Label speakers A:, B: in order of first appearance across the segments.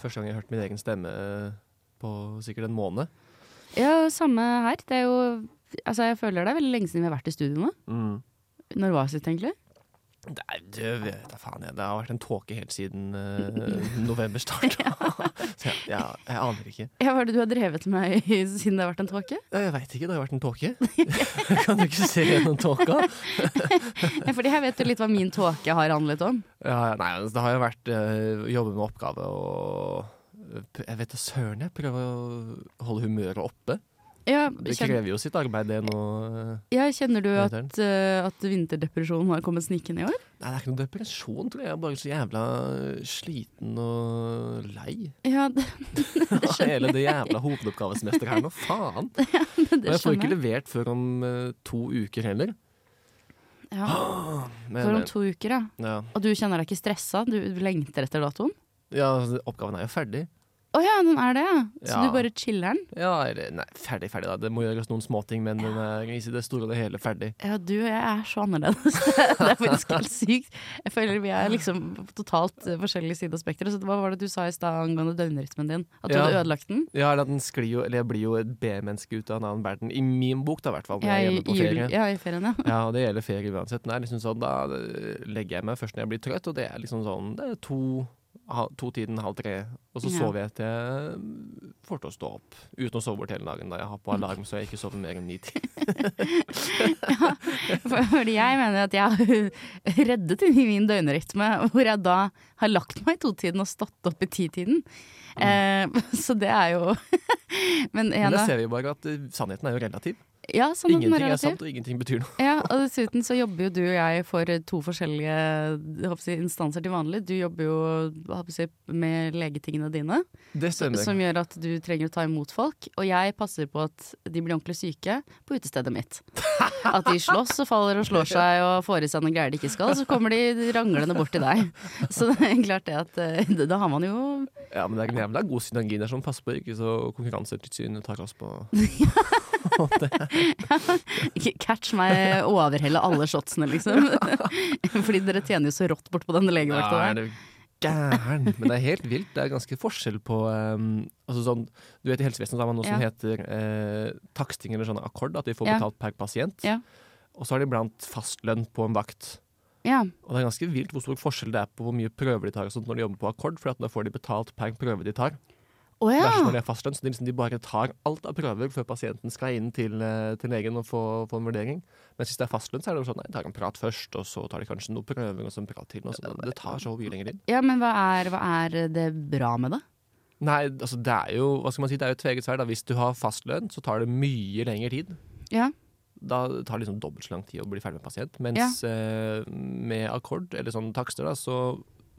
A: første gang jeg hørte min egen stemme eh, på sikkert en måned.
B: Ja, samme her. Det er jo Altså, jeg føler det er veldig lenge siden vi har vært i studio nå.
A: Mm.
B: Når var det sist, egentlig?
A: Det, er, det vet jeg faen jeg. Det har vært en tåke helt siden eh, november starta. Så jeg, jeg, jeg aner ikke.
B: Ja, hva er det du har drevet med i- siden det har vært en tåke?
A: Ja, Jeg veit ikke, det har vært en tåke. kan du ikke se gjennom tåka?
B: Ja, fordi jeg vet jo litt hva min tåke har handlet om.
A: Ja, ja, nei, altså, det har jo vært eh, jobbe med oppgave og eh, Jeg vet da søren, jeg. Prøve å holde humøret oppe.
B: Ja,
A: Det
B: kjenner,
A: krever jo sitt arbeid, det nå. eh.
B: ja, kjenner du
A: Hva heter
B: at, eh, at vinterdepresjonen har kommet snikende i år?
A: Nei, det er ikke noe depresjon, tror jeg. Jeg er bare så jævla sliten og lei
B: Ja, det,
A: av hele det jævla hovedoppgavesmesteret her nå. Faen! Og jeg får
B: det
A: ikke
B: skjønner jeg.
A: levert før om eh, to uker heller.
B: Ja,
A: Men, eh,
B: for om to uker, ja.
A: ja.
B: Og du kjenner deg ikke stressa? Du lengter etter datoen?
A: ja, altså, oppgaven er jo ferdig.
B: Å ja, den er det, ja. Så
A: Ja.
B: du bare chiller den?
A: Ja, eller nei, ferdig, ferdig, da. Det må gjøres noen småting, men den er i det store og det hele ferdig.
B: Ja, du og jeg er så annerledes. Det er faktisk helt sykt. Jeg føler vi er liksom på totalt eh, forskjellige sider av spekteret. Så hva var det du sa i stad angående døgnrytmen din? At du
A: Ja.
B: hadde ødelagt den?
A: Ja, eller at den sklir jo, eller jeg blir jo et B-menneske ut av en annen verden. I min bok, da, i hvert fall. Når
B: Ja,
A: jeg er
B: i,
A: hjemme på
B: i jul,
A: ferie.
B: ja, i ferien, ja.
A: Ja, og det gjelder ferie uansett. Nei, liksom sånn, da eh, legger jeg meg først når jeg blir trøtt, og det er liksom sånn det er to, ha- to-tiden, halv tre. Og så
B: Ja.
A: sover jeg til jeg får til å stå opp. Uten å sove bort hele dagen. da Jeg har på alarm, så jeg ikke sover mer enn ni timer.
B: For- Fordi jeg mener at jeg har reddet inn i min døgnrytme, hvor jeg da har lagt meg i totiden og stått opp i titiden. Eh, så det er jo Men
A: Mm. Men
B: igjen,
A: der
B: da.
A: ser vi jo bare at eh, sannheten er jo relativ.
B: Ja, sånn at den er
A: Ingenting er
B: relativ.
A: sant, og ingenting betyr noe.
B: Ja, og dessuten så jobber jo du og jeg for eh, to forskjellige jeg håper å si, instanser til vanlig. Du jobber jo jeg håper å si, med legetingene dine,
A: Det stemmer.
B: som gjør at du trenger å ta imot folk. Og jeg passer på at de blir ordentlig syke på utestedet mitt. At de slåss og faller og slår seg og får i seg noen greier de ikke skal, så kommer de ranglende bort til deg. Så det er klart det at eh, da har man jo
A: Ja, men det er en jævla god synergi der som passer på ikke så Konkurransetilsynet tar oss på
B: Catch meg overhelle alle shotsene, liksom. Fordi dere tjener jo så rått bort på denne legevakta der.
A: er du gæren? Men det er helt vilt. Det er ganske forskjell på ehm, altså sånn, Du vet i helsevesenet så har man noe som
B: Ja.
A: heter eh, taksting eller sånn akkord, at de får
B: Ja.
A: betalt per pasient.
B: Ja.
A: Og så har de iblant fastlønn på en vakt.
B: Ja.
A: Og det er ganske vilt hvor stor forskjell det er på hvor mye prøver de tar og sånt når de jobber på akkord, for at da får de betalt per prøve de tar.
B: Å ja.
A: Versus når de har fastlønn, så de, liksom, de bare tar alt av prøver før pasienten skal inn til, eh, til legen og få, få en vurdering. Mens hvis det er fastlønn, så er det jo sånn nei, de tar en prat først, og så tar de kanskje noen prøver, og så en prat til. Og så, det tar så mye lenger tid.
B: Ja, men hva er, hva er det bra med det?
A: Nei, altså det er jo hva skal man si, det er jo et tveget sverd. da. Hvis du har fastlønn, så tar det mye lengre tid.
B: Ja.
A: Da tar det liksom dobbelt så lang tid å bli ferdig med pasient. Mens eh, med akkord, eller sånn takster, da, så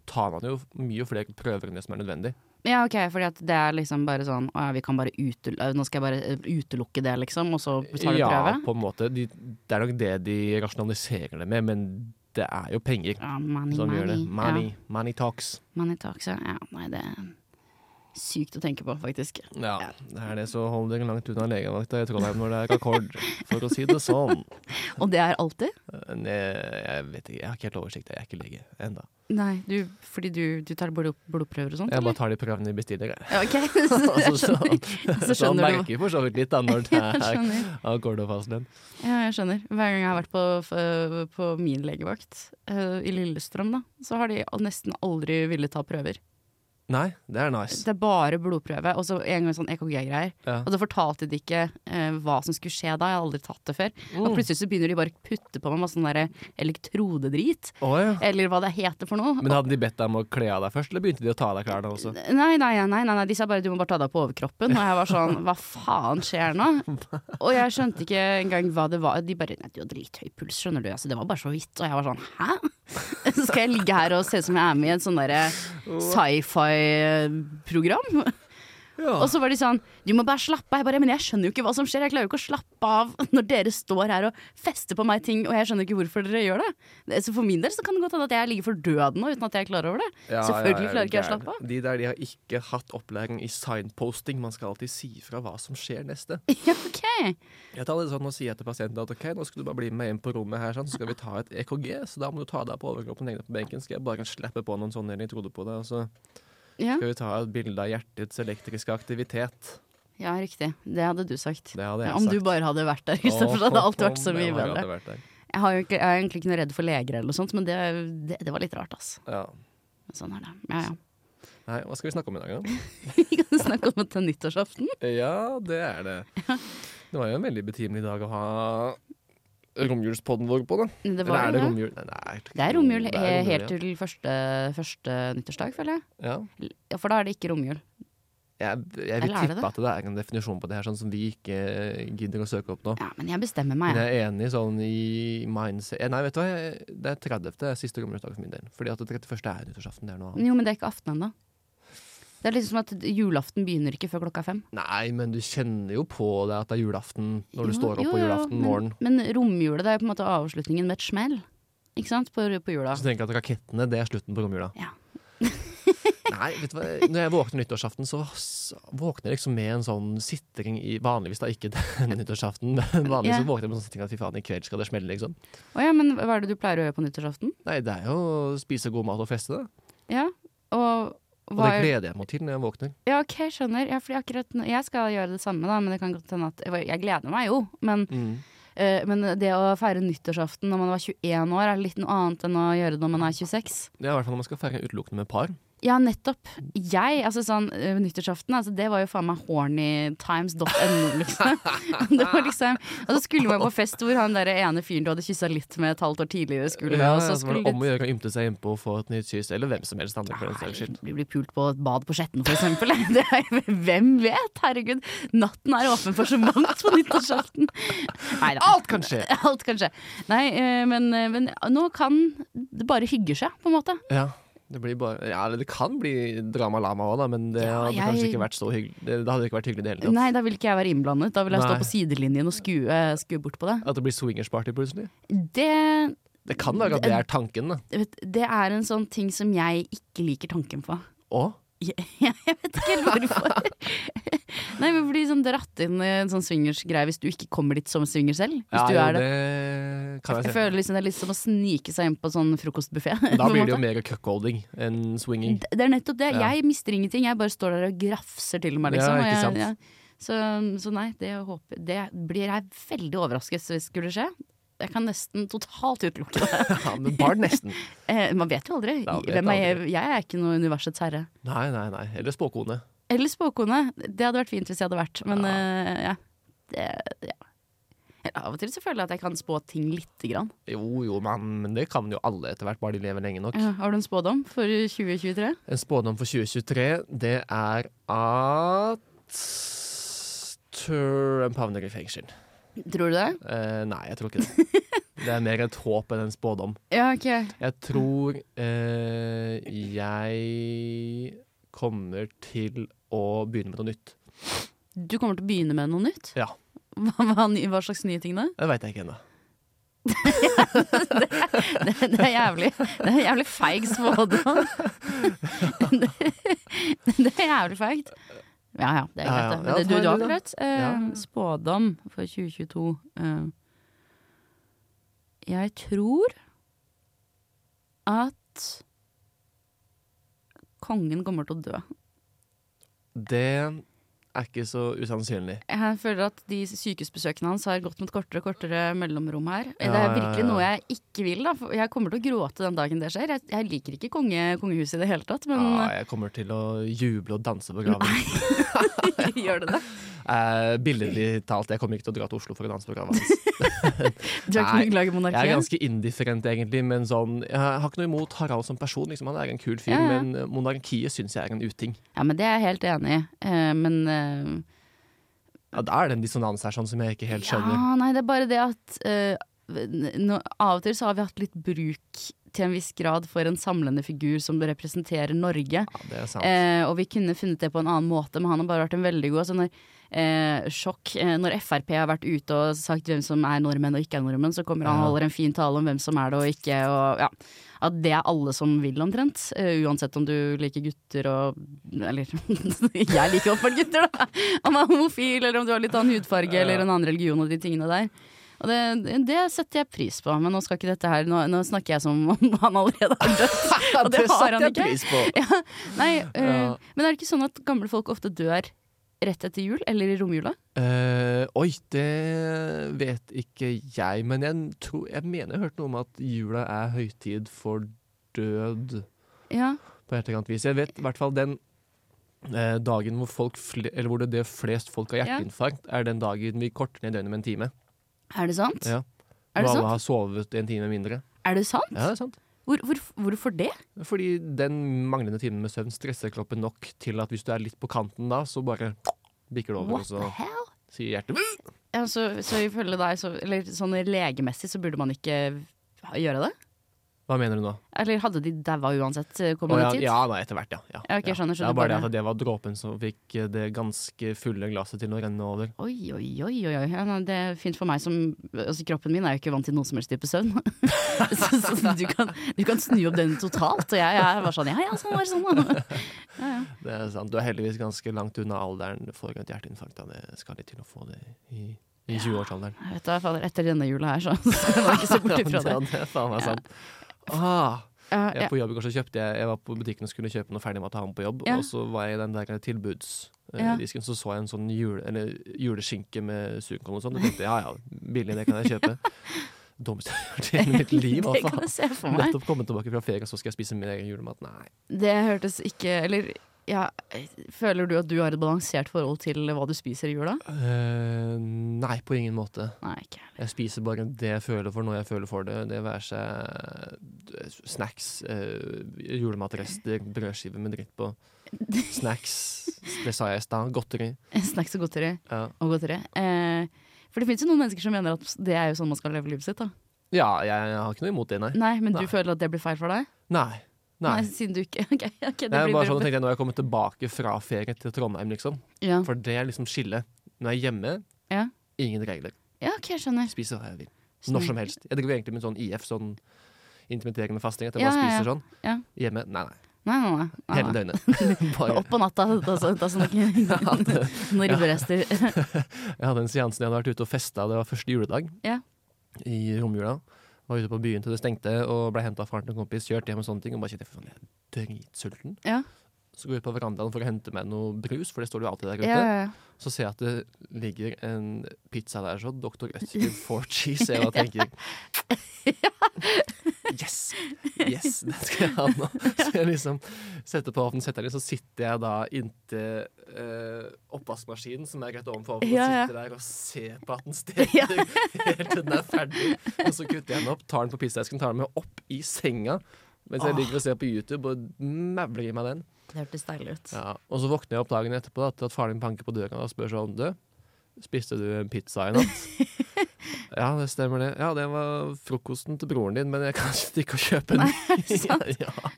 A: tar man jo mye flere prøver enn det som er nødvendig.
B: Ja, ok, fordi at det er liksom bare sånn Å ja, vi kan bare utel øh, nå skal jeg bare øh, utelukke det, liksom, og så tar du
A: ja,
B: prøve?
A: på en måte. De, det er nok det de rasjonaliserer det med, men det er jo penger
B: Ja, money,
A: som Sånn gjør det.
B: money.
A: Money,
B: Ja,
A: money talks.
B: money talks, ja. ja. Nei, det er sykt å tenke på, faktisk.
A: Ja, det er det, så hold dere langt unna legevakta i Trondheim når det er akkord, for å si det sånn.
B: Og det er alltid?
A: Men Jeg, jeg vet ikke, jeg har ikke helt oversikt, jeg er ikke lege enda.
B: Nei, du, fordi du, du tar blod, blodprøver og sånt,
A: Jeg bare
B: eller?
A: tar de prøvene de bestiller. jeg.
B: Ja, ok, så,
A: Altså,
B: jeg skjønner. så
A: Så man
B: skjønner du.
A: merker jo for så vidt litt da, når det
B: Jeg
A: er
B: skjønner.
A: akkord og fastlønn.
B: Ja, jeg skjønner. Hver gang jeg har vært på, f- på min legevakt, øh, i Lillestrøm, da, så har de nesten aldri villet ta prøver.
A: Nei, det er nice.
B: Det er bare blodprøve, og så en gang sånn EKG-greier.
A: Ja.
B: Og så fortalte de ikke eh, hva som skulle skje da, jeg har aldri tatt det før. Og plutselig så begynner de bare å putte på meg masse sånn derre elektrodedrit,
A: Å, ja.
B: eller hva det heter for noe.
A: Men hadde de bedt deg om å kle av deg først, eller begynte de å ta av deg klærne også?
B: Nei, nei, nei, nei, nei, de sa bare du må bare ta deg på overkroppen. Og jeg var sånn, hva faen skjer nå? Og jeg skjønte ikke engang hva det var. De bare nei, du har drithøy puls, skjønner du. Altså, det var bare så vidt. Og jeg var sånn, hæ? Så skal jeg ligge her og se ut som jeg er med i en sånn derre sci-fi-program?
A: Ja.
B: Og så var de sånn Du må bare slappe av. Jeg bare, men jeg skjønner jo ikke hva som skjer. Jeg klarer jo ikke å slappe av når dere står her og fester på meg ting, og jeg skjønner ikke hvorfor dere gjør det. det. Så for min del så kan det godt hende at jeg ligger for døden nå uten at jeg er klar over det.
A: Ja,
B: Selvfølgelig
A: ja,
B: klarer ikke jeg å
A: gæren.
B: slappe av.
A: De der de har ikke hatt opplæring i signposting. Man skal alltid si fra hva som skjer neste.
B: Ja, ok.
A: Jeg tar det sånn og sier jeg til pasienten at ok, nå skal du bare bli med inn på rommet her, sånn, så skal vi ta et EKG. Så da må du ta deg på overkroppen, legge deg på benken, skal jeg bare slappe på noen sånne elektroder på deg, og så
B: Ja.
A: Skal vi ta et bilde av hjertets elektriske aktivitet?
B: ja, riktig. Det hadde du sagt.
A: Det hadde jeg
B: Om
A: sagt.
B: du bare hadde vært der, Kristoffer, så hadde alt vært så
A: Om
B: mye
A: jeg bare
B: bedre.
A: hadde vært der.
B: Jeg, har jo egentlig, jeg er egentlig ikke noe redd for leger eller noe sånt, men det, det, det var litt rart, altså.
A: Ja.
B: Sånn er det. Ja, ja.
A: Nei, hva skal vi snakke om i dag, da?
B: Vi kan snakke om at det er nyttårsaften.
A: Ja, det er det. Det var jo en veldig betimelig dag å ha romjulspodden vår på, da.
B: Det
A: Eller
B: var
A: er
B: jo
A: det
B: det.
A: romjul? Nei, nei,
B: Det er romjul
A: det er
B: eh,
A: romjul,
B: helt
A: ja.
B: til første, første nyttårsdag, føler jeg.
A: Ja.
B: Ja, For da er det ikke romjul.
A: Jeg, jeg vil
B: Eller er det
A: tippe
B: det?
A: at det er en definisjon på det her, sånn som vi ikke gidder å søke opp nå.
B: Ja, men jeg bestemmer meg.
A: Men
B: jeg.
A: jeg er enig sånn i mindset Eh, Nei, vet du hva, jeg- det er 30. er siste romjulsdag for min del. Fordi at det 31. er nyttårsaften. Det er noe annet.
B: Jo, men det er ikke aften ennå. Det er liksom som at julaften begynner ikke før klokka fem.
A: Nei, men du kjenner jo på deg at det er julaften når du
B: Jo,
A: står opp
B: jo,
A: på
B: jo,
A: julaften
B: men-
A: morgen.
B: Men romjula det er jo på en måte avslutningen med et smell. Ikke sant? På, på jula.
A: Så tenker jeg at rakettene, det er slutten på romjula.
B: Ja.
A: Nei, vet du hva? Når jeg våkner nyttårsaften, så s- våkner jeg liksom med en sånn sitring i Vanligvis da, ikke denne nyttårsaften, men vanligvis
B: Ja.
A: så våkner jeg med en sånn sitring at fy faen, i kveld skal det smelle, liksom.
B: Å ja, men hva er det du pleier å gjøre på nyttårsaften?
A: Nei, det er jo å spise god mat og feste, det.
B: Ja, og
A: Og
B: hva
A: det
B: er
A: gleder jeg meg til når jeg våkner.
B: Ja, OK, skjønner. Ja, fordi akkurat nå Jeg skal gjøre det samme, da, men det kan godt hende at Jeg gleder meg jo, men, eh, men det å feire nyttårsaften når man var 21 år, er litt noe annet enn å gjøre det når man er 26.
A: Det er i hvert fall når man skal feire utelukkende med par.
B: Ja, nettopp. Jeg, altså sånn eh, nyttårsaften, altså det var jo faen meg hornytimes.no, liksom. Det var liksom Og så skulle man på fest hvor han der ene fyren du hadde kyssa litt med et halvt år tidligere, skulle med,
A: Ja,
B: og så
A: så var
B: skulle
A: det om å gjøre å ymte seg innpå og få et nytt kyss, eller hvem som helst andre, for den saks
B: Nei,
A: skyld.
B: Bli bli pult på et bad på Skjetten, for eksempel. Det er, hvem vet? Herregud. Natten er åpen for så mangt på nyttårsaften. Nei da.
A: Alt kan skje!
B: Alt kan skje. Nei, eh, men, eh, men nå kan det bare hygge seg, på en måte.
A: Ja. Det, blir bare, ja, eller det kan bli drama-lama òg, da, men det
B: Ja,
A: hadde
B: jeg-
A: kanskje ikke vært så hyggelig. Det det hadde ikke vært hyggelig i det hele tatt.
B: Nei, da vil ikke jeg være innblandet. Da vil jeg stå
A: Nei.
B: på sidelinjen og skue, skue bort på det.
A: At det blir swingers-party plutselig.
B: Det
A: Det kan være at det er tanken, da.
B: vet, det er en sånn ting som jeg ikke liker tanken på.
A: Å?
B: Jeg, jeg vet ikke helt hvorfor. Nei, men fordi sånn dratt inn i en sånn swingers-greie hvis du ikke kommer dit som swinger selv. Hvis du
A: jo,
B: er det.
A: det kan
B: Jeg
A: jeg se.
B: føler liksom det er litt som å snike seg inn på sånn frokostbuffé.
A: Da blir det jo mer cuckolding enn swinging.
B: Det er nettopp det.
A: Ja.
B: Jeg mister ingenting. Jeg bare står der og grafser til meg, liksom.
A: Ja, ikke
B: Og
A: sant.
B: jeg, ja. Så, så nei, det, håper, det blir jeg veldig overrasket hvis det skulle skje. Jeg kan nesten totalt utelukke det.
A: Ja, men bare nesten.
B: Eh, Man vet jo aldri.
A: Ja, man vet
B: Hvem er jeg? jeg er ikke noe universets herre.
A: Nei, nei, nei. Eller spåkone.
B: Eller spåkone. Det hadde vært fint hvis jeg hadde vært, men eh, ja. Det, ja. Av og til så føler jeg at jeg kan spå ting lite grann.
A: Jo, jo, men, men det kan jo alle etter hvert, bare de lever lenge nok.
B: Ja, Har du en spådom for 2023?
A: En spådom for 2023, det er at Trump havner i fengsel.
B: Tror du det?
A: Eh, nei, jeg tror ikke det. Det er mer et håp enn en spådom.
B: Ja, ok.
A: Jeg tror eh, jeg kommer til å begynne med noe nytt.
B: Du kommer til å begynne med noe nytt?
A: Ja.
B: Hva, hva, ny- hva slags nye ting da?
A: Det veit jeg ikke ennå.
B: Det, det er jævlig Det er jævlig feig spådom. Det, det er jævlig feigt. Ja ja, det
A: Ja, ja.
B: er greit. det. Men
A: Ja, ta
B: det, du,
A: en
B: du har
A: du,
B: ikke
A: da.
B: rett. Eh,
A: Ja.
B: Spådom for 2022. Eh, jeg tror at kongen kommer til å dø.
A: Det er ikke så usannsynlig.
B: Jeg føler at de sykehusbesøkene hans har gått mot kortere og kortere mellomrom her.
A: Ja,
B: det er
A: ja,
B: virkelig
A: ja.
B: noe jeg ikke vil. da for Jeg kommer til å gråte den dagen det skjer. Jeg, jeg liker ikke konge, kongehuset i det hele tatt, men
A: Ja, jeg kommer til å juble og danse på graven.
B: gjør det det?
A: Eh, billedlig talt, jeg kommer ikke til å dra til Oslo for å danse på graven hans.
B: Du har ikke
A: Nei,
B: noe glad i
A: Jeg er
B: monarkiet?
A: ganske indifferent, egentlig, men sånn Jeg har ikke noe imot Harald som person, liksom. Han er en kul fyr,
B: Ja, ja.
A: men monarkiet syns jeg er en uting.
B: Ja, men Det er jeg helt enig i. Eh, men eh,
A: Ja, da er det en dissonans her sånn som jeg ikke helt skjønner.
B: ja, nei, det er bare det at eh, nå, Av og til så har vi hatt litt bruk til en viss grad for en samlende figur som representerer Norge.
A: Ja, det er sant.
B: Eh, og vi kunne funnet det på en annen måte, men han har bare vært en veldig god altså når, eh, sjokk. Eh, når Frp har vært ute og sagt hvem som er nordmenn og ikke er nordmenn, så kommer han
A: Ja.
B: og holder en fin tale om hvem som er det og ikke. Og, ja. At det er alle som vil, omtrent. Eh, uansett om du liker gutter og Eller jeg liker åpenbart gutter, da! Om du er homofil, eller om du har litt annen hudfarge
A: Ja.
B: eller en annen religion og de tingene der. Og det, det setter jeg pris på, men nå skal ikke dette her Nå, nå snakker jeg som om han allerede har dødd. Og det har han ikke.
A: pris på.
B: Ja, nei, øh,
A: Ja.
B: Men er det ikke sånn at gamle folk ofte dør rett etter jul, eller i romjula?
A: Eh, oi, det vet ikke jeg, men jeg, tror, jeg mener jeg hørte noe om at jula er høytid for død
B: Ja.
A: på et eller annet vis. Jeg vet i hvert fall den eh, dagen hvor, folk fle, eller hvor det dør flest folk av
B: Ja.
A: hjerteinfarkt, er den dagen vi korter ned døgnet med en time.
B: Er det sant?
A: Ja.
B: Er det
A: Hvor alle
B: sant?
A: har sovet en time mindre.
B: Er det sant?
A: Ja, det er sant.
B: Hvor, hvor, hvorfor det?
A: Fordi den manglende timen med søvn stresser kroppen nok til at hvis du er litt på kanten da, så bare bikker det over,
B: What
A: og
B: the
A: så
B: hell?
A: sier hjertet
B: Ja, så, så ifølge deg, så, eller sånn legemessig, så burde man ikke gjøre det?
A: Hva mener du nå?
B: Eller hadde de daua uansett eh,
A: Å,
B: kommende
A: ja,
B: tid?
A: ja, nei, etter hvert, ja. ja.
B: Ja, ok, skjønner, skjønner,
A: det er bare det
B: bare-
A: at det var dråpen som fikk eh, det ganske fulle glasset til å renne over.
B: Oi, oi, oi, oi. oi. Ja, nei, det er fint for meg som altså, Kroppen min er jo ikke vant til noen som helst type søvn. så, så du, kan, du kan snu opp den totalt, og jeg er bare sånn ja ja, sånn var det sånn. Ja, ja.
A: Det er sant. Du er heldigvis ganske langt unna alderen for et hjerteinfarkt. Da. Det skal litt til å få det i, i 20-årsalderen.
B: Jeg vet da, fader, etter denne jula her, så skal man ikke se bort ifra det.
A: Ja, det er faen meg sant. Ah,
B: Ja,
A: jeg,
B: ja.
A: på jobb i går så kjøpte jeg, jeg var på butikken og skulle kjøpe noe ferdig med å ta med på jobb,
B: Ja.
A: og så var jeg i den der tilbudsdisken,
B: Ja.
A: disken så så jeg en sånn jule, eller, juleskinke med surkål og sånn, og tenkte jeg, ja ja, billig, det kan jeg kjøpe. Dummeste jeg har gjort i hele mitt liv, hva
B: Det
A: faen?
B: kan jeg se for meg.
A: Nettopp kommet tilbake fra ferie, så skal jeg spise min egen julemat. Nei.
B: Det hørtes ikke Eller ja, føler du at du har et balansert forhold til hva du spiser i jula?
A: Eh, nei, på ingen måte.
B: Nei, ikke heller.
A: Jeg spiser bare det jeg føler for når jeg føler for det. Det være seg eh, snacks, eh, julematrester, brødskiver med dritt på. Snacks, det sa jeg i stad. Godteri.
B: Snacks og godteri.
A: Ja,
B: Og godteri. Eh, for det fins jo noen mennesker som mener at det er jo sånn man skal leve livet sitt. da
A: ja jeg, jeg har ikke noe imot det, nei.
B: Nei, men du
A: Nei.
B: føler at det blir feil for deg?
A: Nei. Nei.
B: siden du ikke Ok, ok, det
A: Det er
B: blir
A: bare sånn,
B: bra.
A: tenkte jeg, Når jeg kommer tilbake fra ferie til Trondheim, liksom.
B: Ja.
A: For det er liksom skillet. Når jeg er hjemme,
B: Ja.
A: ingen regler.
B: ja, ok, jeg skjønner.
A: Spiser hva jeg vil. Når som helst. Jeg driver egentlig med sånn IF, sånn intermitterende fasting. At jeg
B: Ja,
A: bare
B: ja, ja.
A: spiser sånn.
B: Ja.
A: Hjemme nei, nei.
B: Nei, nei, nei. nei,
A: Hele
B: nei.
A: døgnet. Bare.
B: Opp på natta, da, så, da, sånn at ikke noen ribberester
A: Jeg hadde en seanse da jeg hadde vært ute og festa, det var første juledag
B: Ja.
A: i romjula. Var ute på byen til det stengte og ble henta av faren til en kompis. Kjørte hjem og sånne ting. Og bare kjente faen, jeg er dritsulten.
B: Ja.
A: Så går jeg ut på verandaen for å hente meg noe brus, for det står det jo alltid der
B: Ja,
A: ute.
B: ja, ja.
A: Så ser jeg at det ligger en pizza der, så Dr. Ødsker four cheese. Jeg bare tenker Yes! Yes, den skal jeg ha nå. Så jeg liksom setter på ovnen, setter den, så sitter jeg da inntil eh, oppvaskmaskinen som er rett ovenfor ovnen,
B: Ja,
A: og
B: ja.
A: sitter der og ser på at den steker helt til den er ferdig. Og så kutter jeg den opp, tar den på pizzaesken, tar den med opp i senga mens jeg ligger og ser på YouTube og mævler i meg den.
B: Det hørtes deilig ut.
A: Ja, og så våkner jeg opp dagen etterpå da, til at faren min banker på døra og spør seg om du spiste du en pizza i natt. ja, det stemmer det. Ja, det var frokosten til broren din, men jeg kan ikke stikke og kjøpe en ny. ja, ja.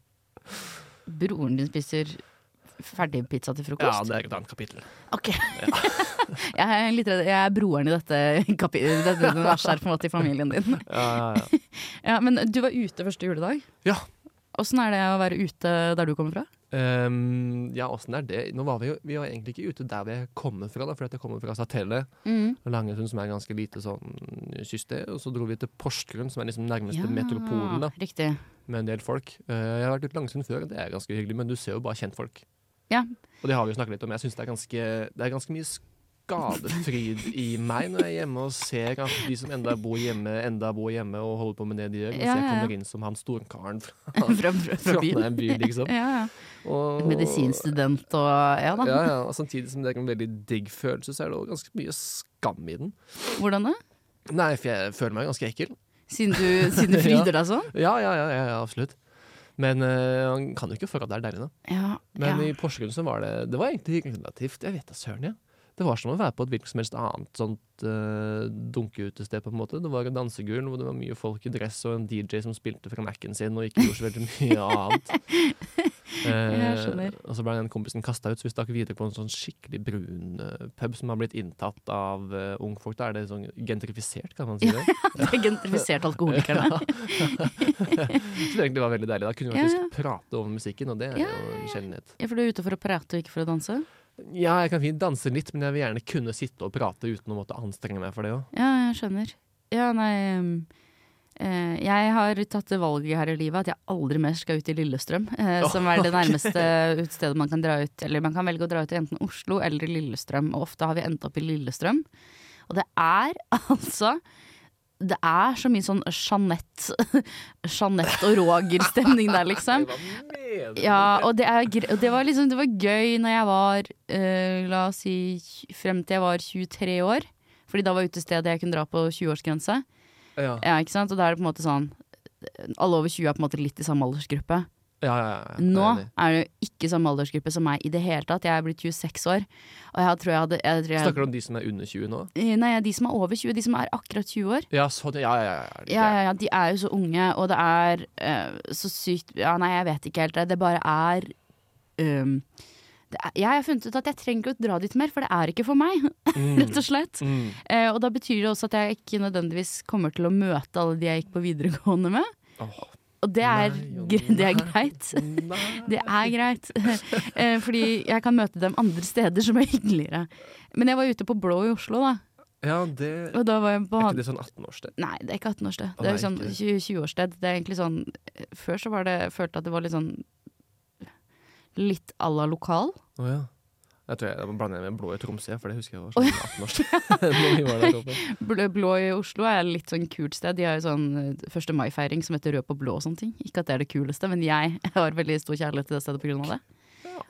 B: Broren din spiser ferdigpizza til
A: ja,
B: frokost?
A: det er et annet kapittel.
B: Ok. jeg, er litt redd. jeg er broren i dette, kapi dette universet her, på en måte, i familien din.
A: Ja, ja, ja.
B: Ja, Men du var ute første juledag.
A: Ja.
B: Åssen er det å være ute der du kommer fra?
A: Ehm, ja, åssen er det? Nå var vi jo vi var egentlig ikke ute der vi kommer fra, da, for at jeg kommer fra Satelle.
B: Mm.
A: Langesund, som er ganske lite sånn kyststed. Og så dro vi til Porsgrunn, som er liksom nærmeste metropolen, da,
B: Riktig.
A: med en del folk. Eh, jeg har vært ute i Langesund før, og det er ganske hyggelig, men du ser jo bare kjentfolk.
B: Ja.
A: Og det har vi jo snakket litt om. Jeg syns det, er ganske- det er ganske mye skadefryd i meg når jeg er hjemme og ser at de som enda bor hjemme, enda bor hjemme og holder på med det de gjør, mens
B: Ja,
A: jeg
B: ja, ja.
A: kommer inn som han storkaren fra
B: fra, fra, fra byen.
A: Trondheim by, liksom.
B: Ja, ja.
A: Og,
B: Medisinstudent og ja da.
A: Ja, ja, og Samtidig som det er en veldig digg følelse, så er det også ganske mye skam i den.
B: Hvordan det?
A: Nei, for jeg føler meg ganske ekkel.
B: Siden du, siden du fryder deg sånn?
A: Ja, ja, ja, ja, ja absolutt. Men eh, han kan jo ikke få at det er deilig, da.
B: Ja.
A: Men
B: ja.
A: i Porsgrunn så var det Det var egentlig relativt Jeg vet da søren, jeg. Det var som å være på et hvilket som helst annet sånt eh, dunkeutested, på en måte. Det var et dansegulv hvor det var mye folk i dress, og en DJ som spilte fra Mac-en sin og ikke gjorde så veldig mye annet.
B: Jeg skjønner.
A: Eh, og så ble den kompisen kasta ut, så vi stakk videre på en sånn skikkelig brun eh, pub som har blitt inntatt av eh, ungfolk. Da er det sånn gentrifisert, kan man si det.
B: Det er Gentrifisert alkoholikerne.
A: Så det egentlig var veldig deilig. Da kunne vi
B: Ja,
A: faktisk prate over musikken, og det er
B: Ja,
A: jo en sjeldenhet.
B: Ja, for du er ute for å prate og ikke for å danse?
A: Ja, jeg kan fint danse litt, men jeg vil gjerne kunne sitte og prate uten å måtte anstrenge meg for det òg.
B: Ja, jeg skjønner. Ja, nei um, eh, Jeg har tatt det valget her i livet at jeg aldri mer skal ut i Lillestrøm. eh,
A: Åh,
B: som er det
A: ok.
B: nærmeste utstedet man kan dra ut. Eller man kan velge å dra ut i enten Oslo eller Lillestrøm, og ofte har vi endt opp i Lillestrøm. Og det er altså det er så mye sånn Jeanette, Jeanette og Roger-stemning der, liksom.
A: Hva mener du?
B: Ja, og det, er, gre- og det var liksom Det var gøy når jeg var eh, La oss si tj- frem til jeg var 23 år. Fordi da var utestedet jeg kunne dra på 20-årsgrense.
A: Ja, ja,
B: Ja, ikke sant? Og da er det på en måte sånn Alle over 20 er på en måte litt i samme aldersgruppe.
A: ja, ja, ja.
B: Nå
A: Jeg er enig.
B: er det jo ikke samme aldersgruppe som meg i det hele tatt. Jeg er blitt 26 år. Og jeg tror jeg hadde jeg tror jeg, Eh,
A: Snakker du om de som er under 20 nå?
B: Nei, de som er over 20, de som er akkurat 20 år.
A: Ja, sånn, ja, ja, ja, ja.
B: Ja, ja, ja, de er jo så unge, og det er eh, så sykt Ja, nei, jeg vet ikke helt. Det Det bare er ehm, det er, Jeg har funnet ut at jeg trenger ikke å dra dit mer, for det er ikke for meg,
A: Mm,
B: rett og slett.
A: mm.
B: Eh, og da betyr det også at jeg ikke nødvendigvis kommer til å møte alle de jeg gikk på videregående med.
A: Åh,
B: Og det er,
A: Nei, og
B: gre- det er
A: nei.
B: greit.
A: nei.
B: Det er greit. Eh, Fordi jeg kan møte dem andre steder som er hyggeligere. Men jeg var ute på Blå i Oslo, da.
A: Ja, det Er
B: Og da var jeg på
A: ikke det sånn 18-årssted?
B: Nei, det er ikke 18-årssted.
A: Å,
B: Det er
A: nei,
B: sånn
A: ikke det.
B: 20- 20-årssted. Det er egentlig sånn Før så var det følte jeg at det var litt sånn Litt à la lokal.
A: Å ja. Jeg tror jeg, jeg blander det med blå i Tromsø, for det husker jeg var sånn 18-årssted. Når vi var der oppe.
B: Blå, blå i Oslo er litt sånn kult sted. De har jo sånn eh, 1. mai-feiring som heter Rød på blå og sånne ting. Ikke at det er det kuleste, men jeg har veldig stor kjærlighet til det stedet pga. det.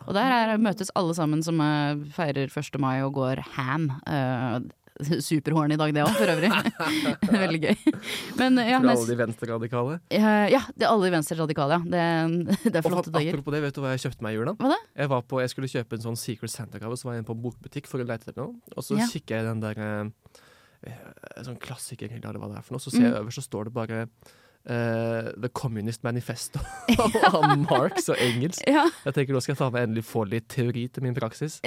B: Og der er, møtes alle sammen som eh, feirer 1. mai og går ham. Uh, Superhorn i dag, det òg, for øvrig. veldig gøy. Men ja,
A: For
B: nei,
A: alle de venstreradikale.
B: eh, ja det er alle i venstre radikale, ja. Det, det er
A: Og
B: flotte
A: faen,
B: dager.
A: apropos det, vet du hva jeg kjøpte meg i jula?
B: Hva da?
A: Jeg, var på, jeg skulle kjøpe en sånn Secret Santa-gave, så var jeg inne på en bokbutikk for å lete etter noe. Og så
B: Ja.
A: kikker jeg i den der eh, eh, sånn klassiker, eller hva det er for noe, så ser
B: Mm.
A: jeg øverst, så står det bare eh, The Communist Manifesto av Marx og Engels.
B: Ja,
A: Jeg tenker nå skal jeg ta med endelig få litt teori til min praksis.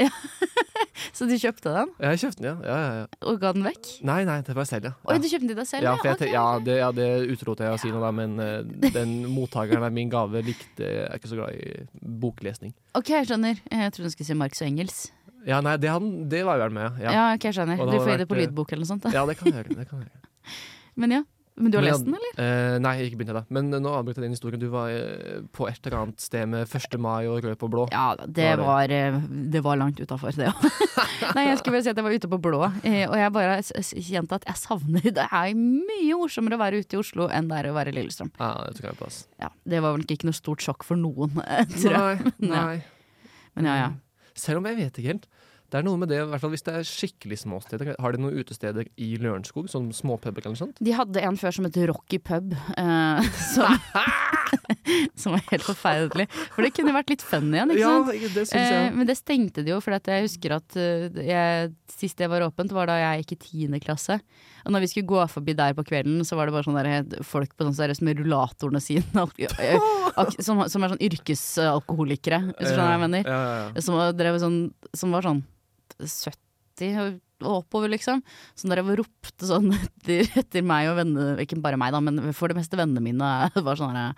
B: Så du kjøpte den,
A: Jeg kjøpte den, ja. ja, ja, ja.
B: og ga den vekk?
A: Nei, nei, det var jeg selv, ja.
B: Oi,
A: ja.
B: du kjøpte den til deg selv?
A: Ja, for jeg,
B: Ok.
A: te- ja, det, ja, det utelot jeg å si noe, da, men eh, den mottakeren av min gave likte Jeg er ikke så glad i boklesning.
B: ok, jeg skjønner. Jeg trodde du skulle si Marx og Engels.
A: Ja, nei, det, han, det var jo han med,
B: Ja,
A: ja.
B: ok, jeg
A: Og
B: skjønner.
A: det
B: Du
A: hadde
B: får gi det på
A: vært, eh,
B: lydbok eller noe sånt. Da.
A: Ja, det kan jeg gjøre. Det kan jeg gjøre.
B: Men ja. Men du har
A: Men
B: lest
A: jeg-
B: den, eller?
A: Eh, nei, jeg har ikke begynt ennå. Men eh, nå avbryter jeg den historien. Du var eh, på et eller annet sted med 1. mai og rød på blå.
B: Ja, det
A: Hva
B: var, eh, det var langt utafor, det òg. Nei, jeg skulle bare si at jeg var ute på blå, eh, og jeg bare s- s- kjente at jeg savner Det er mye morsommere å være ute i Oslo enn det er å være i Lillestrøm.
A: Ja, det tror jeg er på plass.
B: Ja, det var vel ikke noe stort sjokk for noen, eh, tror jeg.
A: Nei, nei.
B: Men ja, ja.
A: Selv om jeg vet ikke helt. Det er noe med det, i hvert fall hvis det er skikkelig småsteder. Har de noen utesteder i Lørenskog, som småpuber eller noe sånt?
B: De hadde en før som het Rocky Pub, eh, som, som var helt forferdelig. For det kunne vært litt fun igjen, ikke sant?
A: det syns
B: Eh,
A: jeg.
B: men det stengte de jo, for jeg husker at eh, jeg, sist det var åpent, var da jeg gikk i tiende klasse. Og når vi skulle gå forbi der på kvelden, så var det bare sånne der, folk på sånn seriøst med rullatorene sine. al- eh, ak- Som, som er sånn yrkesalkoholikere, hvis du skjønner hva jeg mener.
A: Ja, ja, ja.
B: Som, var- drev sånn, som var sånn 70 og og oppover, liksom. Som drev og ropte sånn etter, etter meg og vennene Ikke bare meg, da, men for det meste vennene mine var sånn her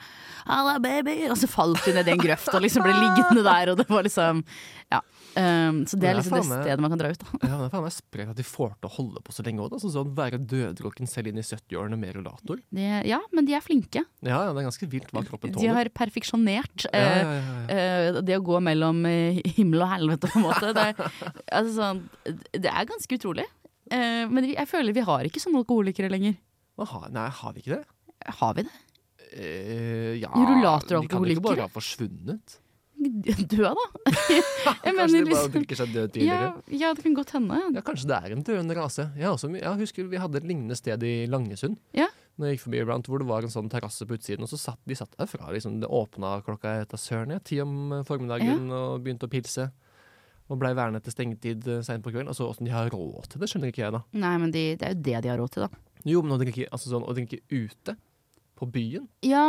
B: 'Halla, baby!' Og så falt de ned i en grøft og liksom ble liggende der, og det var liksom Ja. Um, så det
A: Det
B: er
A: er
B: liksom det
A: faen meg-
B: stedet man kan dra ut, da.
A: Ja, men faen meg sprøtt at de får til å holde på så lenge òg. Sånn, sånn, være døddrukken selv inn i 70-årene med rullator.
B: De, ja, men de er flinke.
A: Ja, ja, det er ganske vilt hva kroppen
B: De
A: tåler.
B: har perfeksjonert.
A: ja,
B: eh,
A: ja, ja, ja.
B: Eh, det å gå mellom eh, himmel og helvete, på en måte. Det er, altså, sånn, det er ganske utrolig. Eh, men jeg føler vi har ikke sånne alkoholikere lenger.
A: Hva har- Nei, har vi ikke det?
B: Har vi det?
A: Eh, ja,
B: Rullator og
A: de kan jo ikke
B: alkoholikere?
A: bare ha forsvunnet.
B: Død, da? Jeg
A: Kanskje
B: mener
A: de bare
B: liksom
A: drikker seg død
B: ja,
A: tidligere.
B: ja, det kan godt hende.
A: Ja, kanskje det er en døende rase. Jeg, også, jeg husker Vi hadde et lignende sted i Langesund.
B: Ja.
A: Når jeg gikk forbi iblant, Hvor det var en sånn terrasse på utsiden. Og så satt de satt der fra liksom, det åpna klokka etter søren, ja, ti om eh, formiddagen, og begynte å pilse. Og blei værende til stengetid eh, sent på kvelden. Altså, Åssen de har råd til det, skjønner ikke jeg, da.
B: Nei, men de, det er jo det de har råd til, da.
A: Jo, men å drikke, altså, sånn, å drikke ute på på byen.
B: Ja,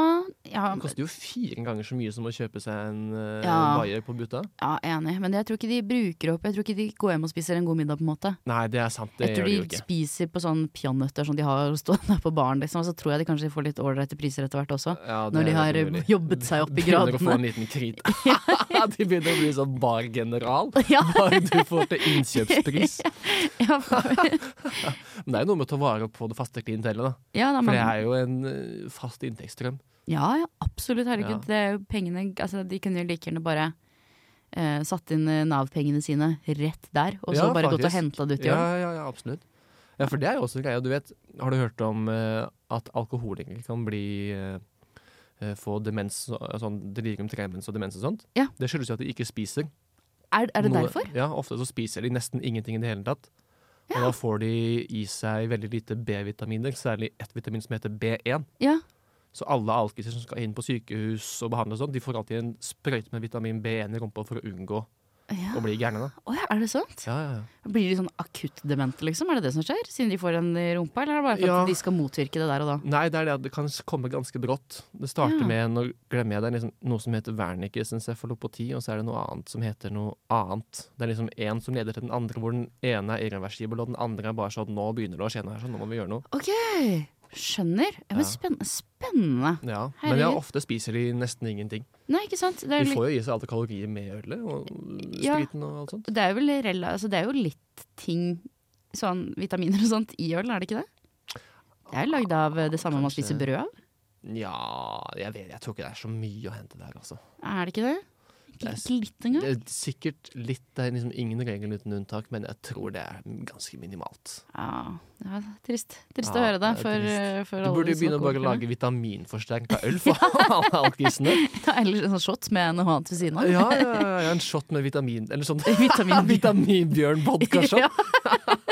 B: ja,
A: Det koster jo fire ganger så mye som å kjøpe seg en eh,
B: Ja.
A: bayer på Butta.
B: ja, enig. Men jeg tror ikke de bruker opp Jeg tror ikke de går hjem og spiser en god middag, på en måte.
A: Nei, det er sant. Det
B: Jeg
A: gjør
B: tror
A: de
B: de
A: jo ikke.
B: spiser på sånn peanøtter som de har stående på baren, liksom. Og så tror jeg de kanskje får litt ålreite priser etter hvert også.
A: Ja, det
B: Når de
A: er
B: har
A: helt mulig.
B: jobbet seg opp i
A: Begynner å få
B: gradene.
A: en liten krit. de begynner å bli sånn bargeneral.
B: Ja.
A: Bare du får til innkjøpspris.
B: Ja, for-
A: Men det er jo noe med å ta vare på det faste klientellet, da.
B: ja, da,
A: For
B: man,
A: det er jo en eh, fast inntektsstrøm.
B: ja, ja absolutt. Herregud.
A: Ja.
B: Det er jo pengene altså, De kunne jo like gjerne bare eh, satt inn eh, Nav-pengene sine rett der, og så
A: Ja,
B: bare gått og
A: faktisk.
B: henta det ut i
A: Ja,
B: år.
A: ja, ja, absolutt. Ja, for det er jo også en greie. Du vet, har du hørt om eh, at alkoholikere kan bli eh, eh, få demens, og- sånn delirium tremens og demens og sånt?
B: Ja.
A: Det skyldes jo at de ikke spiser.
B: Er, er det
A: Noe-
B: derfor?
A: Ja, ofte så spiser de nesten ingenting i det hele tatt. Og
B: Ja.
A: da får de i seg veldig lite B-vitaminer, særlig ett vitamin som heter B1.
B: Ja.
A: Så alle alkiser som skal inn på sykehus og behandles sånn, de får alltid en sprøyte med vitamin B1 i rumpa for å unngå
B: ja.
A: å bli gærne. da.
B: Å ja, er det sant?
A: Ja, ja, ja.
B: Blir de sånn akutt demente, liksom? Er det det som skjer? Siden de får en i rumpa, eller er det bare for
A: Ja.
B: at de skal motvirke det der og da?
A: Nei, det er det at det kan komme ganske brått. Det starter
B: Ja.
A: med nå glemmer jeg, det er liksom noe som heter Wernicke's encefalopati, og så er det noe annet som heter noe annet. Det er liksom én som leder til den andre, hvor den ene er irreversibel, og den andre er bare sånn Nå begynner det å skje noe her, så nå må vi gjøre noe.
B: Ok, skjønner. Ja, men
A: Ja.
B: spennende. spennende.
A: Ja. Men
B: Herregud.
A: ja, ofte spiser de nesten ingenting.
B: Nei, ikke sant? Det er,
A: De
B: jo
A: får jo i seg alle kalorier med ølet og
B: Ja.
A: spriten og alt sånt.
B: litt- det er, vel rela, altså, det er jo litt ting, sånn vitaminer og sånt, i øl, er det ikke det? Det er lagd av eh, det samme man
A: Kanskje.
B: spiser brød av,
A: Nja, jeg, vet- jeg tror ikke det er så mye å hente der, altså.
B: er det ikke det?
A: er
B: Ikke
A: s-
B: ikke litt engang?
A: Det er sikkert litt Det er liksom ingen regel uten unntak, men jeg tror det er ganske minimalt.
B: Ja, det er trist. Trist
A: Ja,
B: å høre det,
A: det er
B: for,
A: trist.
B: eh, for
A: Du burde jo
B: som
A: begynne å bare
B: alkoholikerne.
A: lage vitaminforsterka øl for alle alkisene.
B: Ja, Eller en sånn shot med noe annet ved siden av.
A: Ja, ja, ja, ja, en shot med vitamin Eller sånn
B: Vitamin-
A: vitaminbjørn-vodka-shot.
B: Ja.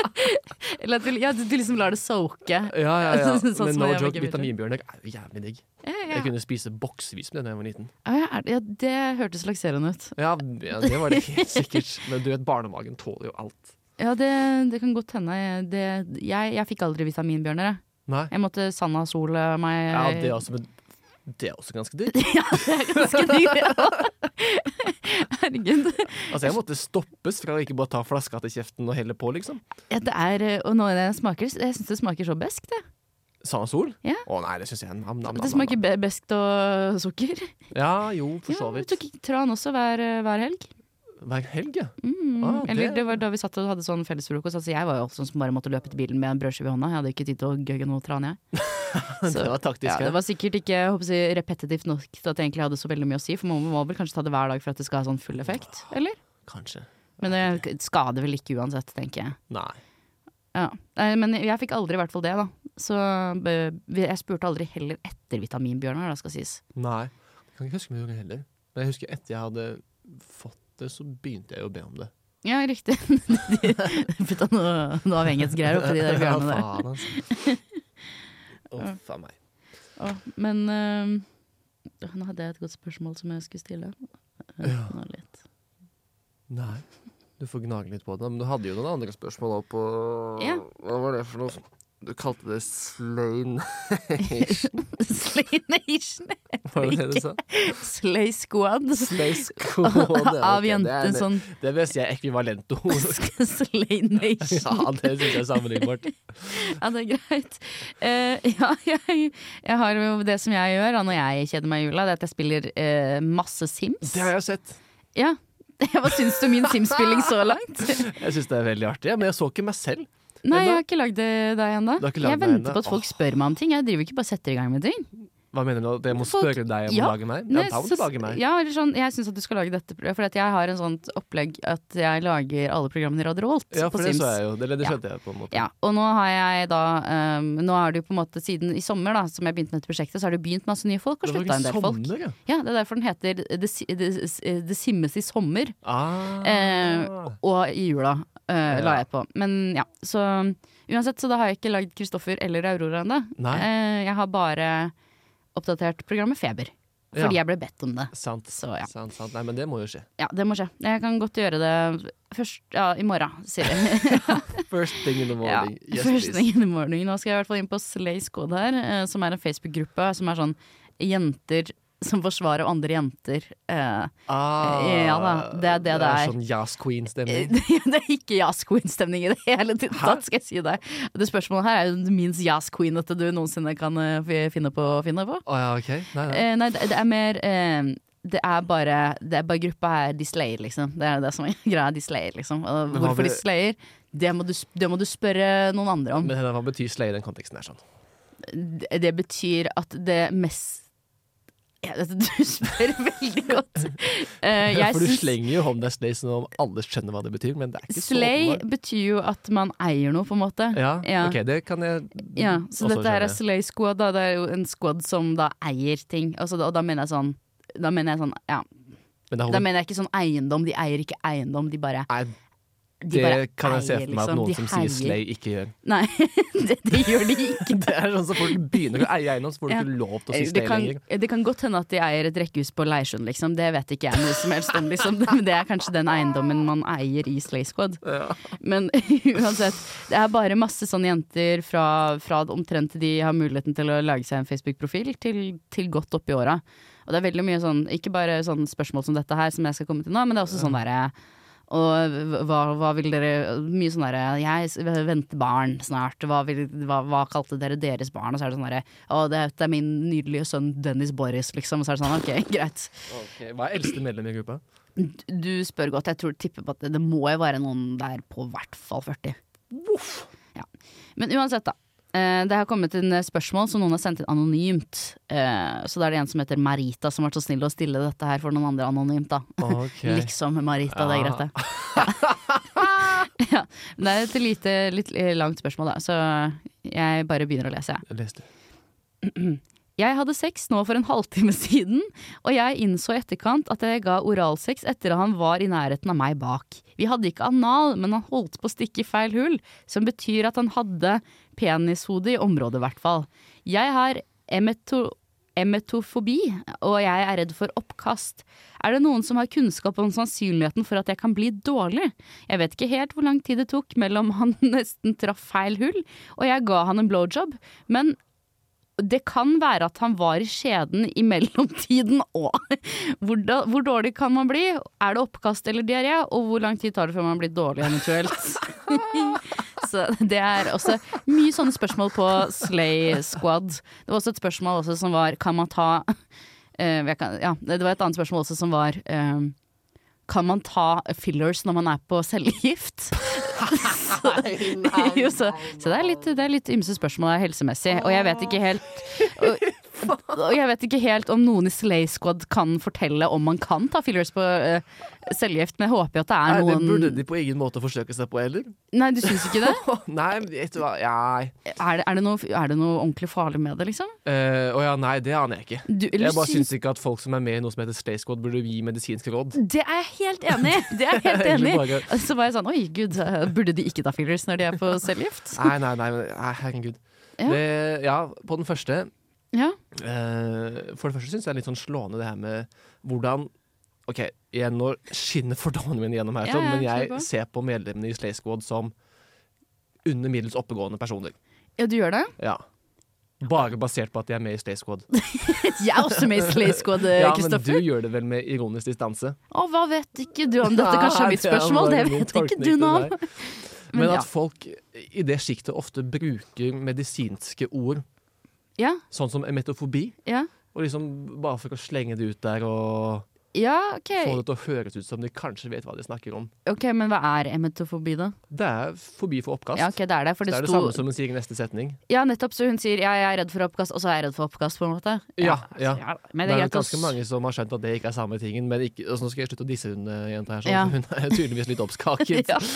B: Eller at du, ja, du, du liksom lar det soake. Ja,
A: Ja, ja, ja.
B: Sånn som
A: Men no
B: jeg
A: joke,
B: bruker.
A: vitaminbjørner er jo jævlig digg.
B: ja.
A: Jeg kunne spise boksevis med det da jeg var liten.
B: Å, ja, er det- ja, det hørtes lakserende ut.
A: Ja, ja, det var det helt sikkert. Men du vet, barnemagen tåler jo alt.
B: Ja, det, det kan godt hende. Det, jeg jeg fikk aldri vitaminbjørner. Jeg.
A: Nei.
B: jeg måtte sanna sol eh, meg.
A: Ja, det er også, men det er også ganske digg.
B: Ja, det er ganske dyr. Ja. Herregud.
A: Altså, jeg måtte stoppes fra å ikke bare ta flaska til kjeften og helle på, liksom.
B: Ja, det er, eh, og nå når jeg smaker, jeg syns det smaker så beskt. Det,
A: Sand og sol?
B: Ja.
A: Å nei, det syns jeg er nam, nam, nam,
B: det
A: nam,
B: smaker
A: nam.
B: be beskt og sukker.
A: Ja, jo, for så
B: Ja, vi
A: vidt.
B: tok tran også hver, hver helg.
A: Hver helg, ja.
B: Mm.
A: Ah, det-
B: Eller det var da vi satt og hadde sånn fellesfrokost. Altså, jeg var jo også sånn som bare måtte løpe til bilen med en brødskive i hånda. Jeg hadde ikke tid til å gøgge noe tran, jeg.
A: Det var taktisk.
B: Ja,
A: ja.
B: det var sikkert ikke jeg håper å si, repetitivt nok til at jeg egentlig hadde så veldig mye å si, for man må vel kanskje ta det hver dag for at det skal ha sånn full effekt, eller?
A: Kanskje.
B: Men det skader vel ikke uansett, tenker jeg.
A: Nei.
B: Ja. Nei, men jeg fikk aldri i hvert fall det, da. Så eh, jeg spurte aldri heller etter vitaminbjørner, da skal sies.
A: Nei. Jeg kan ikke huske om jeg gjorde det heller. Men jeg husker etter jeg hadde fått det, så begynte jeg å be om det.
B: Ja, riktig. De putta noe, noe avhengighetsgreier oppi de der bjørnene der.
A: Ja, faen, altså. Å, faen meg.
B: Å, men eh, nå hadde jeg et godt spørsmål som jeg skulle stille. Eh,
A: Ja.
B: nå litt.
A: Nei. Du får gnage litt på det. Men du hadde jo noen andre spørsmål òg på
B: Ja.
A: Hva var det for noe? som- Du kalte det slain.
B: Slay Nation.
A: Var det det du sa?
B: Slay Squad.
A: Slay squad.
B: Av
A: Ok, det er-
B: jenter sånn
A: Det vil jeg si er ekvivalento.
B: Slay Nation.
A: ja, det syns jeg er sammenlignbart.
B: Ja, det er greit. Eh, ja, jeg, jeg har jo det som jeg gjør da, når jeg kjeder meg i jula, det er at jeg spiller eh, masse Sims.
A: Det har jeg sett.
B: Ja. Hva syns du om min Sims-spilling så langt?
A: Jeg syns det er veldig artig. Ja, men jeg så ikke meg selv. Men
B: Nei,
A: da-
B: jeg har ikke lagd det deg ennå.
A: Du har ikke lagd
B: Jeg
A: deg ennå?
B: venter på at folk spør meg om ting. Jeg driver ikke bare og setter i gang med ting.
A: Hva mener du? at Jeg må
B: Folk-
A: spørre deg om å
B: Ja,
A: lage meg?
B: Nei,
A: Ja, da må du
B: så-
A: lage meg.
B: Ja, eller sånn, jeg syns at du skal lage dette, for at jeg har en sånt opplegg at jeg lager alle programmene i Radio Revolt
A: Ja,
B: på
A: for det
B: Sims.
A: så jeg jo. Det, det
B: Ja.
A: skjønte jeg på en måte.
B: Ja, og nå har jeg da ehm, Nå har det jo på en måte siden i sommer, da som jeg begynte med dette prosjektet, så har det begynt masse nye folk og
A: Det var
B: slutta en
A: i
B: del folk.
A: sommer, ja.
B: Ja, Det er derfor den heter Det, Si- det, det simmes i sommer,
A: Ah.
B: Eh, og i jula eh, la
A: Ja.
B: jeg på. Men ja, så uansett, så da har jeg ikke lagd Kristoffer eller Aurora ennå.
A: Nei.
B: Eh, jeg har bare oppdatert programmet Feber. fordi
A: Ja.
B: jeg ble bedt om det.
A: Sant.
B: Så ja.
A: sant, sant. Nei, men det må jo skje.
B: ja, det må skje. Jeg kan godt gjøre det først ja, i morgen, sier jeg.
A: First thing in the
B: ja,
A: morning. Yes,
B: First
A: please.
B: thing in the morning. Nå skal jeg i hvert fall inn på Slays Code her, eh, som er en Facebook-gruppe som er sånn jenter som forsvarer andre jenter. Eh,
A: Ah,
B: Ja da, det er det det er.
A: Sånn Jazz Queen-stemning.
B: det, Eh, det er ikke Jazz Queen-stemning i det hele tatt, skal jeg si deg. Det spørsmålet her er jo det minst Jazz Queen at du noensinne kan eh, fi- finne på. Finne på.
A: Å ja, OK. Nei, nei.
B: Eh, nei, det, det er mer eh, det er bare Det er bare gruppa her de slayer, liksom. Det er det som er greia. De slayer, liksom. Og
A: Men hva
B: hvorfor
A: vil-
B: de slayer, det må, du, s- det må du spørre noen andre om.
A: Men hva betyr slay i den konteksten her? sånn?
B: Det, det betyr at det mest jeg vet, Du spør veldig godt. Eh, jeg
A: For du
B: syns-
A: slenger jo om deg slay som om alle skjønner hva det betyr, men det er ikke så
B: Slay
A: åpenbart.
B: betyr jo at man eier noe, på en måte.
A: Ja,
B: Ja.
A: ok, det kan jeg
B: Ja, så
A: også
B: dette her er
A: skjønne.
B: Slay Squad, da. Det er jo en squad som da eier ting. Altså, da- og da mener jeg sånn da mener jeg sånn, ja.
A: Men det, er
B: Da mener jeg ikke sånn eiendom, de eier ikke eiendom, de bare
A: Nei,
B: de
A: det
B: bare
A: kan jeg se
B: eier,
A: for meg at
B: liksom.
A: noen
B: De
A: som
B: heier.
A: sier slay, ikke gjør.
B: Nei, det, det gjør de ikke.
A: Det er sånn så fort du begynner å eie eiendom, så får du
B: Ja.
A: ikke lov til å si
B: Eh, Det
A: slay
B: kan,
A: lenger.
B: det kan godt hende at de eier et rekkehus på Leirsund, liksom. Det vet ikke jeg noe som helst om, liksom. Men det er kanskje den eiendommen man eier i Slay Squad. Men uansett, det er bare masse sånne jenter fra, fra omtrent de har muligheten til å lage seg en Facebook-profil, til, til godt oppi åra. Og det er veldig mye sånn, ikke bare sånne spørsmål som dette her, som jeg skal komme til nå, men det er også sånn derre og hva, hva vil dere Mye sånn derre Jeg s- venter barn snart. Hva, vil, hva, hva kalte dere deres barn? Og så er det sånn derre Å, det, er- det er min nydelige sønn Dennis Boris, liksom. Og så er det sånn, OK, greit.
A: Ok, Hva er eldste medlem i gruppa?
B: Du spør godt. Jeg tror tipper på at det, det må jo være noen der på hvert fall 40. Ja. Men uansett, da. Eh, Det har kommet inn spørsmål som noen har sendt inn anonymt. Eh, Så da er det en som heter Marita som har vært så snill å stille dette her for noen andre anonymt. da
A: Ok.
B: Liksom Marita, det er
A: Ja.
B: greit, det. Ja. Men Det er et lite, litt eh, langt spørsmål, da, så jeg bare begynner å lese. jeg.
A: Jeg leste.
B: Jeg hadde sex nå for en halvtime siden, og jeg innså i etterkant at jeg ga oralsex etter at han var i nærheten av meg bak. Vi hadde ikke anal, men han holdt på å stikke i feil hull, som betyr at han hadde penishode i området, i hvert fall. Jeg har emeto emetofobi, og jeg er redd for oppkast. Er det noen som har kunnskap om sannsynligheten for at jeg kan bli dårlig? Jeg vet ikke helt hvor lang tid det tok mellom han nesten traff feil hull, og jeg ga han en blowjob, men det kan være at han var i skjeden i mellomtiden òg. Hvor, da- hvor dårlig kan man bli? Er det oppkast eller diaré? Og hvor lang tid tar det før man blir dårlig eventuelt? Så det er også mye sånne spørsmål på Slay Squad. Det var også et spørsmål også som var Kan man ta eh, jeg kan, Ja, det var et annet spørsmål også som var eh, Kan man ta fillers når man er på cellegift? jo, så, så det er litt, det er litt ymse spørsmål her helsemessig, og jeg vet ikke helt og, og jeg vet ikke helt om noen i Slay Squad kan fortelle om man kan ta fillers på eh, cellegift, men jeg håper jo at det
A: Nei,
B: er
A: det
B: noen
A: burde de på ingen måte forsøke seg på heller.
B: Nei, du syns ikke det?
A: Nei, men vet du hva Nei.
B: Er det, er, det noe, er det noe ordentlig farlig med det, liksom?
A: Eh, Å ja, nei, det aner jeg ikke.
B: Du, eller
A: Jeg bare
B: syns-
A: syns ikke at folk som er med i noe som heter Stay Squad, burde gi medisinske råd.
B: Det er jeg helt enig i! Det er jeg helt enig
A: Egentlig
B: i. Og Så var jeg sånn oi gud, eh, burde de ikke ta fillers når de er på cellegift?
A: Nei, nei, nei, men- nei herregud.
B: Ja.
A: Det, ja, på den første
B: Ja.
A: eh, For det første syns jeg det er litt sånn slående det her med hvordan OK, igjen nå skinner fordommene mine gjennom her,
B: Ja,
A: sånn,
B: ja,
A: men jeg
B: kjør på.
A: ser på medlemmene i Slay Squad som under middels oppegående personer.
B: ja, du gjør det?
A: Ja. Bare basert på at de er med i Slay Squad.
B: Jeg er også med i Slay Squad, eh,
A: Ja, men
B: Kristoffer.
A: du gjør det vel med ironisk distanse?
B: Å, hva vet ikke du om dette? Kanskje
A: Nei,
B: er mitt
A: det er
B: spørsmål? Det
A: bare min
B: vet ikke
A: tolkning
B: du
A: til
B: nå.
A: deg.
B: Men
A: Men
B: ja.
A: at folk i det sjiktet ofte bruker medisinske ord,
B: Ja,
A: sånn som emetofobi,
B: ja.
A: og liksom bare for å slenge det ut der og
B: Ja, ok.
A: få det til å høres ut som de kanskje vet hva de snakker om.
B: Ok, Men hva er emetofobi, da?
A: Det er fobi for oppkast.
B: Ja, ok, det er det. For
A: det
B: det,
A: er det
B: sto
A: samme som hun sier i neste setning.
B: Ja, nettopp. Så hun sier ja, jeg er redd for oppkast, og så er jeg redd for oppkast, på en måte.
A: Ja, ja.
B: Men
A: Det er
B: det er
A: jo
B: greit,
A: ganske
B: ass.
A: mange som har skjønt at det ikke er samme tingen. Men ikke, altså, nå skal jeg slutte å disse hun eh, jenta her, sånn.
B: Ja.
A: hun er tydeligvis litt oppskaket.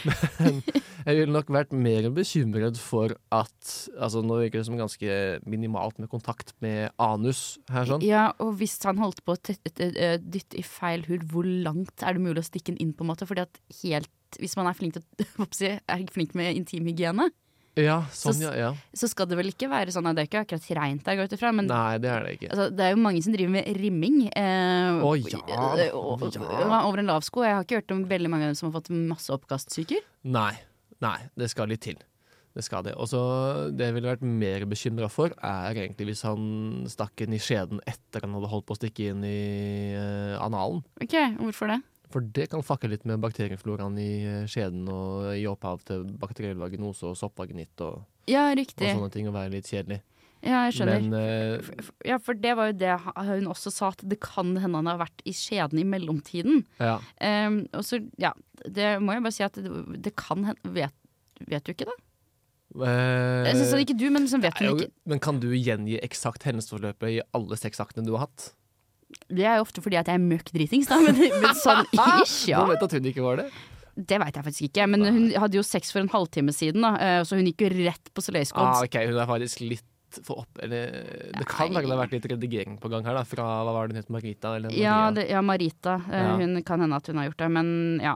B: Ja.
A: Jeg ville nok vært mer bekymret for at altså Nå virker det som ganske minimalt med kontakt med anus her, sånn.
B: ja, og hvis han holdt på å tett- eh, eh, dytte i feil hull, hvor langt er det mulig å stikke den inn, på en måte? Fordi at helt hvis man er flink til å- hva skal jeg si, er flink med intimhygiene,
A: Ja, sånn, ja.
B: Så-
A: ja.
B: Så skal det vel ikke være sånn, det er ikke akkurat reint der, går jeg ut ifra, men
A: Nei, det er det ikke.
B: altså, det er jo mange som driver med rimming. Eh,
A: Å, ja,
B: eh, og- og-
A: ja.
B: Over en lav sko. Jeg har ikke hørt om veldig mange som har fått masse oppkastsyker.
A: Nei. Nei, det skal litt til. Det skal det. Og så det jeg ville vært mer bekymra for, er egentlig hvis han stakk inn i skjeden etter han hadde holdt på å stikke inn i eh, analen.
B: Ok, Hvorfor det?
A: For det kan fucke litt med bakteriefloraen i eh, skjeden og gi opphav til bakteriell vaginose og soppvaginitt og,
B: Ja,
A: og
B: riktig.
A: sånne ting, og være litt kjedelig.
B: Ja, jeg skjønner.
A: Men eh,
B: F- Ja, for det var jo det ha- hun også sa, at det kan hende han har vært i skjeden i mellomtiden.
A: ja.
B: Ehm, og så, ja, det må jeg bare si at det, det kan hende Vet, vet du ikke det?
A: Eh,
B: Jeg synes det ikke du, men liksom vet
A: Nei,
B: hun
A: jo,
B: ikke.
A: Eh, Men kan du gjengi eksakt hendelsesforløpet i alle sexaktene du har hatt?
B: Det er jo ofte fordi at jeg er møkk dritings, da, men, men sånn ish, ja.
A: Du vet at hun ikke var det?
B: Det veit jeg faktisk ikke, men hun hadde jo sex for en halvtime siden, da, eh, så hun gikk jo rett på Soleil
A: Ah,
B: Scots.
A: ok, Hun er faktisk litt for opp eller, Det kan
B: Nei.
A: være det har vært litt redigering på gang her, da, fra hva var det hun het, Marita? Eller Maria?
B: Ja, det, ja, Marita. eh,
A: Ja.
B: Hun kan hende at hun har gjort det, men ja.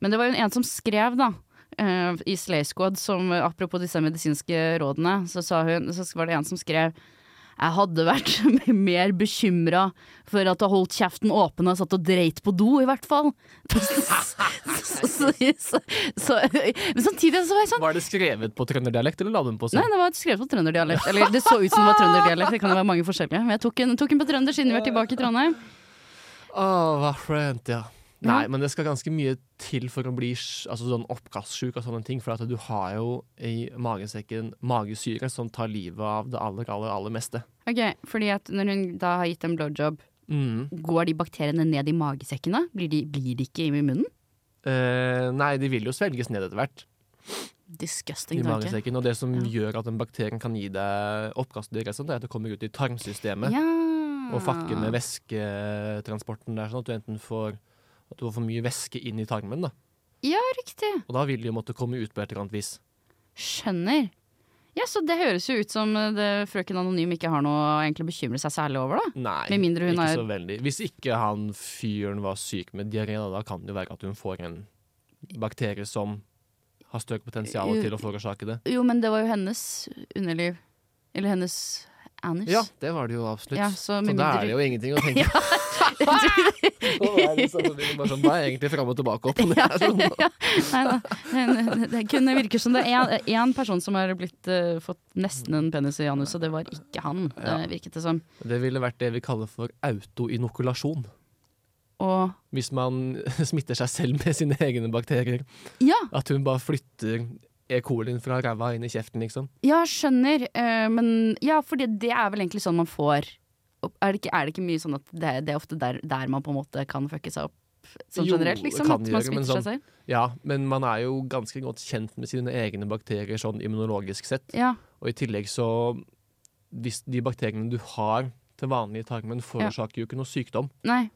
B: Men det var jo en som skrev, da. eh, I Slay Squad, som eh, apropos disse medisinske rådene, så, sa hun, så var det en som skrev Jeg hadde vært mer bekymra for at du har holdt kjeften åpen og satt og dreit på do, i hvert fall. så, så, så, så, men samtidig så var jeg sånn
A: Var det skrevet på trønderdialekt, eller la du den på
B: Nei,
A: sånn?
B: det var skrevet på trønderdialekt. Eller det så ut som det var trønderdialekt, det kan jo være mange forskjellige. Men jeg tok en, tok en på trønder siden vi er tilbake i Trondheim.
A: Åh, hva frent, ja. Nei, men det skal ganske mye til for å bli sj- altså, sånn oppkastsjuk og sånne ting. For at du har jo i magesekken magesyre som tar livet av det aller, aller, aller meste.
B: Ok, fordi at når hun da har gitt en blowjob,
A: Mm.
B: går de bakteriene ned i magesekkene? Blir de, blir de ikke i munnen?
A: Eh, nei, de vil jo svelges ned etter hvert.
B: Disgusting
A: i
B: tanke.
A: magesekken, Og det som
B: Ja.
A: gjør at en bakterien kan gi deg oppkastdiaré, sånn, det er at det kommer ut i tarmsystemet.
B: Ja.
A: og fucke
B: Mm.
A: med væsketransporten der, sånn at du enten får at du får for mye væske inn i tarmen. Da.
B: Riktig.
A: Og da vil de jo måtte komme ut på et eller annet vis.
B: Skjønner. Ja, så det høres jo ut som eh, det frøken Anonym ikke har noe å egentlig bekymre seg særlig over, da.
A: Nei,
B: Med mindre hun
A: ikke
B: er-
A: så veldig. Hvis ikke han fyren var syk med diaré, da, da kan det jo være at hun får en bakterie som har større potensial
B: Jo.
A: til å forårsake det.
B: Jo, men det var jo hennes underliv. Eller hennes anus.
A: Ja, det var det jo absolutt.
B: Ja,
A: så
B: så med
A: da
B: mindre-
A: er det jo ingenting å tenke på. Da er det liksom- det er bare sånn, da er jeg egentlig fram og tilbake opp og ned. Sånn.
B: Nei da. Det kunne virker som det er én person som har blitt, eh, fått nesten en penis i anus, og det var ikke han,
A: Ja.
B: det virket det som.
A: Det ville vært det vi kaller for autoinokulasjon.
B: Og
A: hvis man smitter seg selv med sine egne bakterier.
B: ja,
A: At hun bare flytter E. colien fra ræva inn i kjeften, liksom.
B: ja skjønner, eh, men ja, for det, det er vel egentlig sånn man får Er det ikke, er det ikke mye sånn at det, det er ofte der, der man på en måte kan fucke seg opp sånn
A: Jo,
B: generelt, liksom?
A: kan
B: At man
A: gjøre, men
B: smitter
A: sånn-
B: seg selv?
A: Ja, men man er jo ganske godt kjent med sine egne bakterier sånn immunologisk sett.
B: Ja.
A: Og i tillegg så Hvis de bakteriene du har til vanlig i tarmen, forårsaker jo ikke noe sykdom.
B: Nei.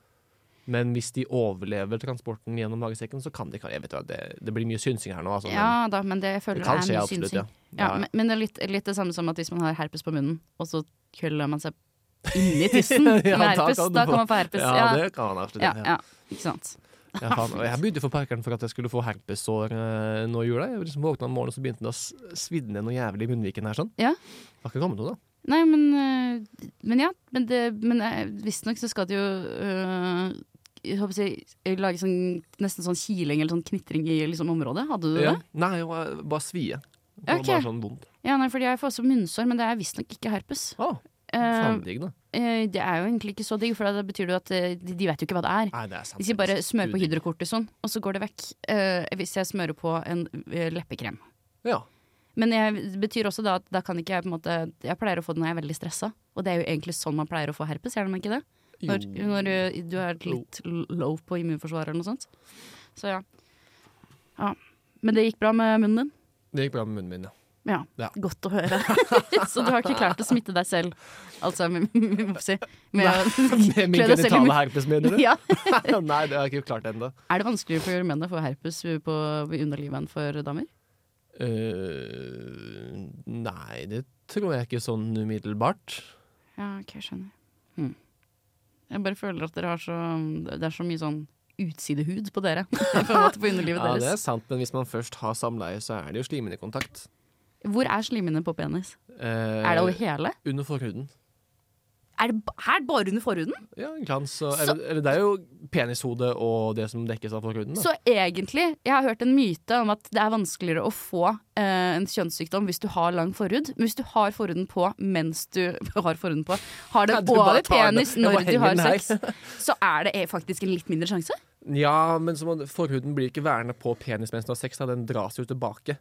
A: Men hvis de overlever transporten gjennom magesekken, så kan de ikke Jeg vet hva, det, det blir mye synsing her nå, altså.
B: Ja da, men det jeg
A: men
B: føler
A: det kan
B: er
A: skje,
B: mye
A: absolutt.
B: synsing.
A: Ja.
B: Ja, men, men det er litt, litt det samme som at hvis man har herpes på munnen, og så køller man seg inni tissen med
A: Ja, da
B: herpes,
A: kan du
B: da
A: få-
B: kan man få herpes.
A: ja,
B: Ja,
A: det kan man absolutt.
B: ja,
A: ja.
B: ja, ikke sant.
A: Ja, faen. Og jeg begynte å få parkeren for at jeg skulle få herpessår eh, nå i jula. Jeg liksom våkna om morgenen og så begynte det å s- svidne noe jævlig i munnviken her. sånn.
B: Ja.
A: Det har ikke kommet noe, da.
B: Nei, men, øh, men ja. Men, det- men eh, visstnok så skal det jo øh, jeg håper å si, lage sånn, nesten sånn kiling eller sånn knitring i liksom, området. Hadde du
A: Ja.
B: det?
A: Nei, jeg var bare svie. Det var
B: Ok.
A: Bare sånn vondt.
B: Ja, nei, fordi jeg får også munnsår, men det er visstnok ikke herpes.
A: Å,
B: Eh,
A: Fandegg, da.
B: eh, det er jo egentlig ikke så digg, for da betyr det jo at eh, de, de vet jo ikke hva det er.
A: Nei, det er sant.
B: De sier bare 'smør på
A: Udigg.
B: hydrokortison', og så går det vekk. eh, hvis jeg smører på en eh, leppekrem.
A: Ja.
B: Men jeg, det betyr også da at da kan ikke jeg på en måte Jeg pleier å få det når jeg er veldig stressa, og det er jo egentlig sånn man pleier å få herpes, gjør man ikke det? Når,
A: Jo.
B: når eh, du er litt l- low på immunforsvaret eller noe sånt. Så ja. ja. Men det gikk bra med munnen din?
A: Det gikk bra med munnen min, ja.
B: Ja.
A: Ja.
B: Godt å høre. Så du har ikke klart å smitte deg selv, altså, med, med, med, å
A: Med min
B: klø deg selv i
A: genitale
B: munnen.
A: herpes, mener du?
B: Ja.
A: Nei, det har jeg ikke klart ennå.
B: Er det vanskeligere for menn å få herpes på underlivet enn for damer?
A: Eh, nei, det tror jeg ikke sånn umiddelbart.
B: Ja, ok, jeg skjønner.
A: Mm.
B: Hmm. Jeg bare føler at dere har så Det er så mye sånn utsidehud på dere. På, en måte, på underlivet
A: Ja, det er
B: deres.
A: sant, men hvis man først har samleie, så er det jo slimende kontakt.
B: Hvor er slimene på penis?
A: Eh,
B: Er det over hele?
A: Under forhuden.
B: Er det ba- her bare under forhuden?
A: Ja, glans og
B: Så-
A: eller, eller det er jo penishodet og det som dekkes av forhuden. Da.
B: Så egentlig, jeg har hørt en myte om at det er vanskeligere å få eh, en kjønnssykdom hvis du har lang forhud. Men hvis du har forhuden på mens du har forhuden på, har det
A: Ja, du bare
B: over
A: tar den.
B: penis
A: Jeg bare
B: når du
A: henger
B: har
A: den her.
B: sex, så er det eh, faktisk en litt mindre sjanse.
A: Ja, men så må, forhuden blir ikke værende på penis mens du har sex, da. den dras jo tilbake.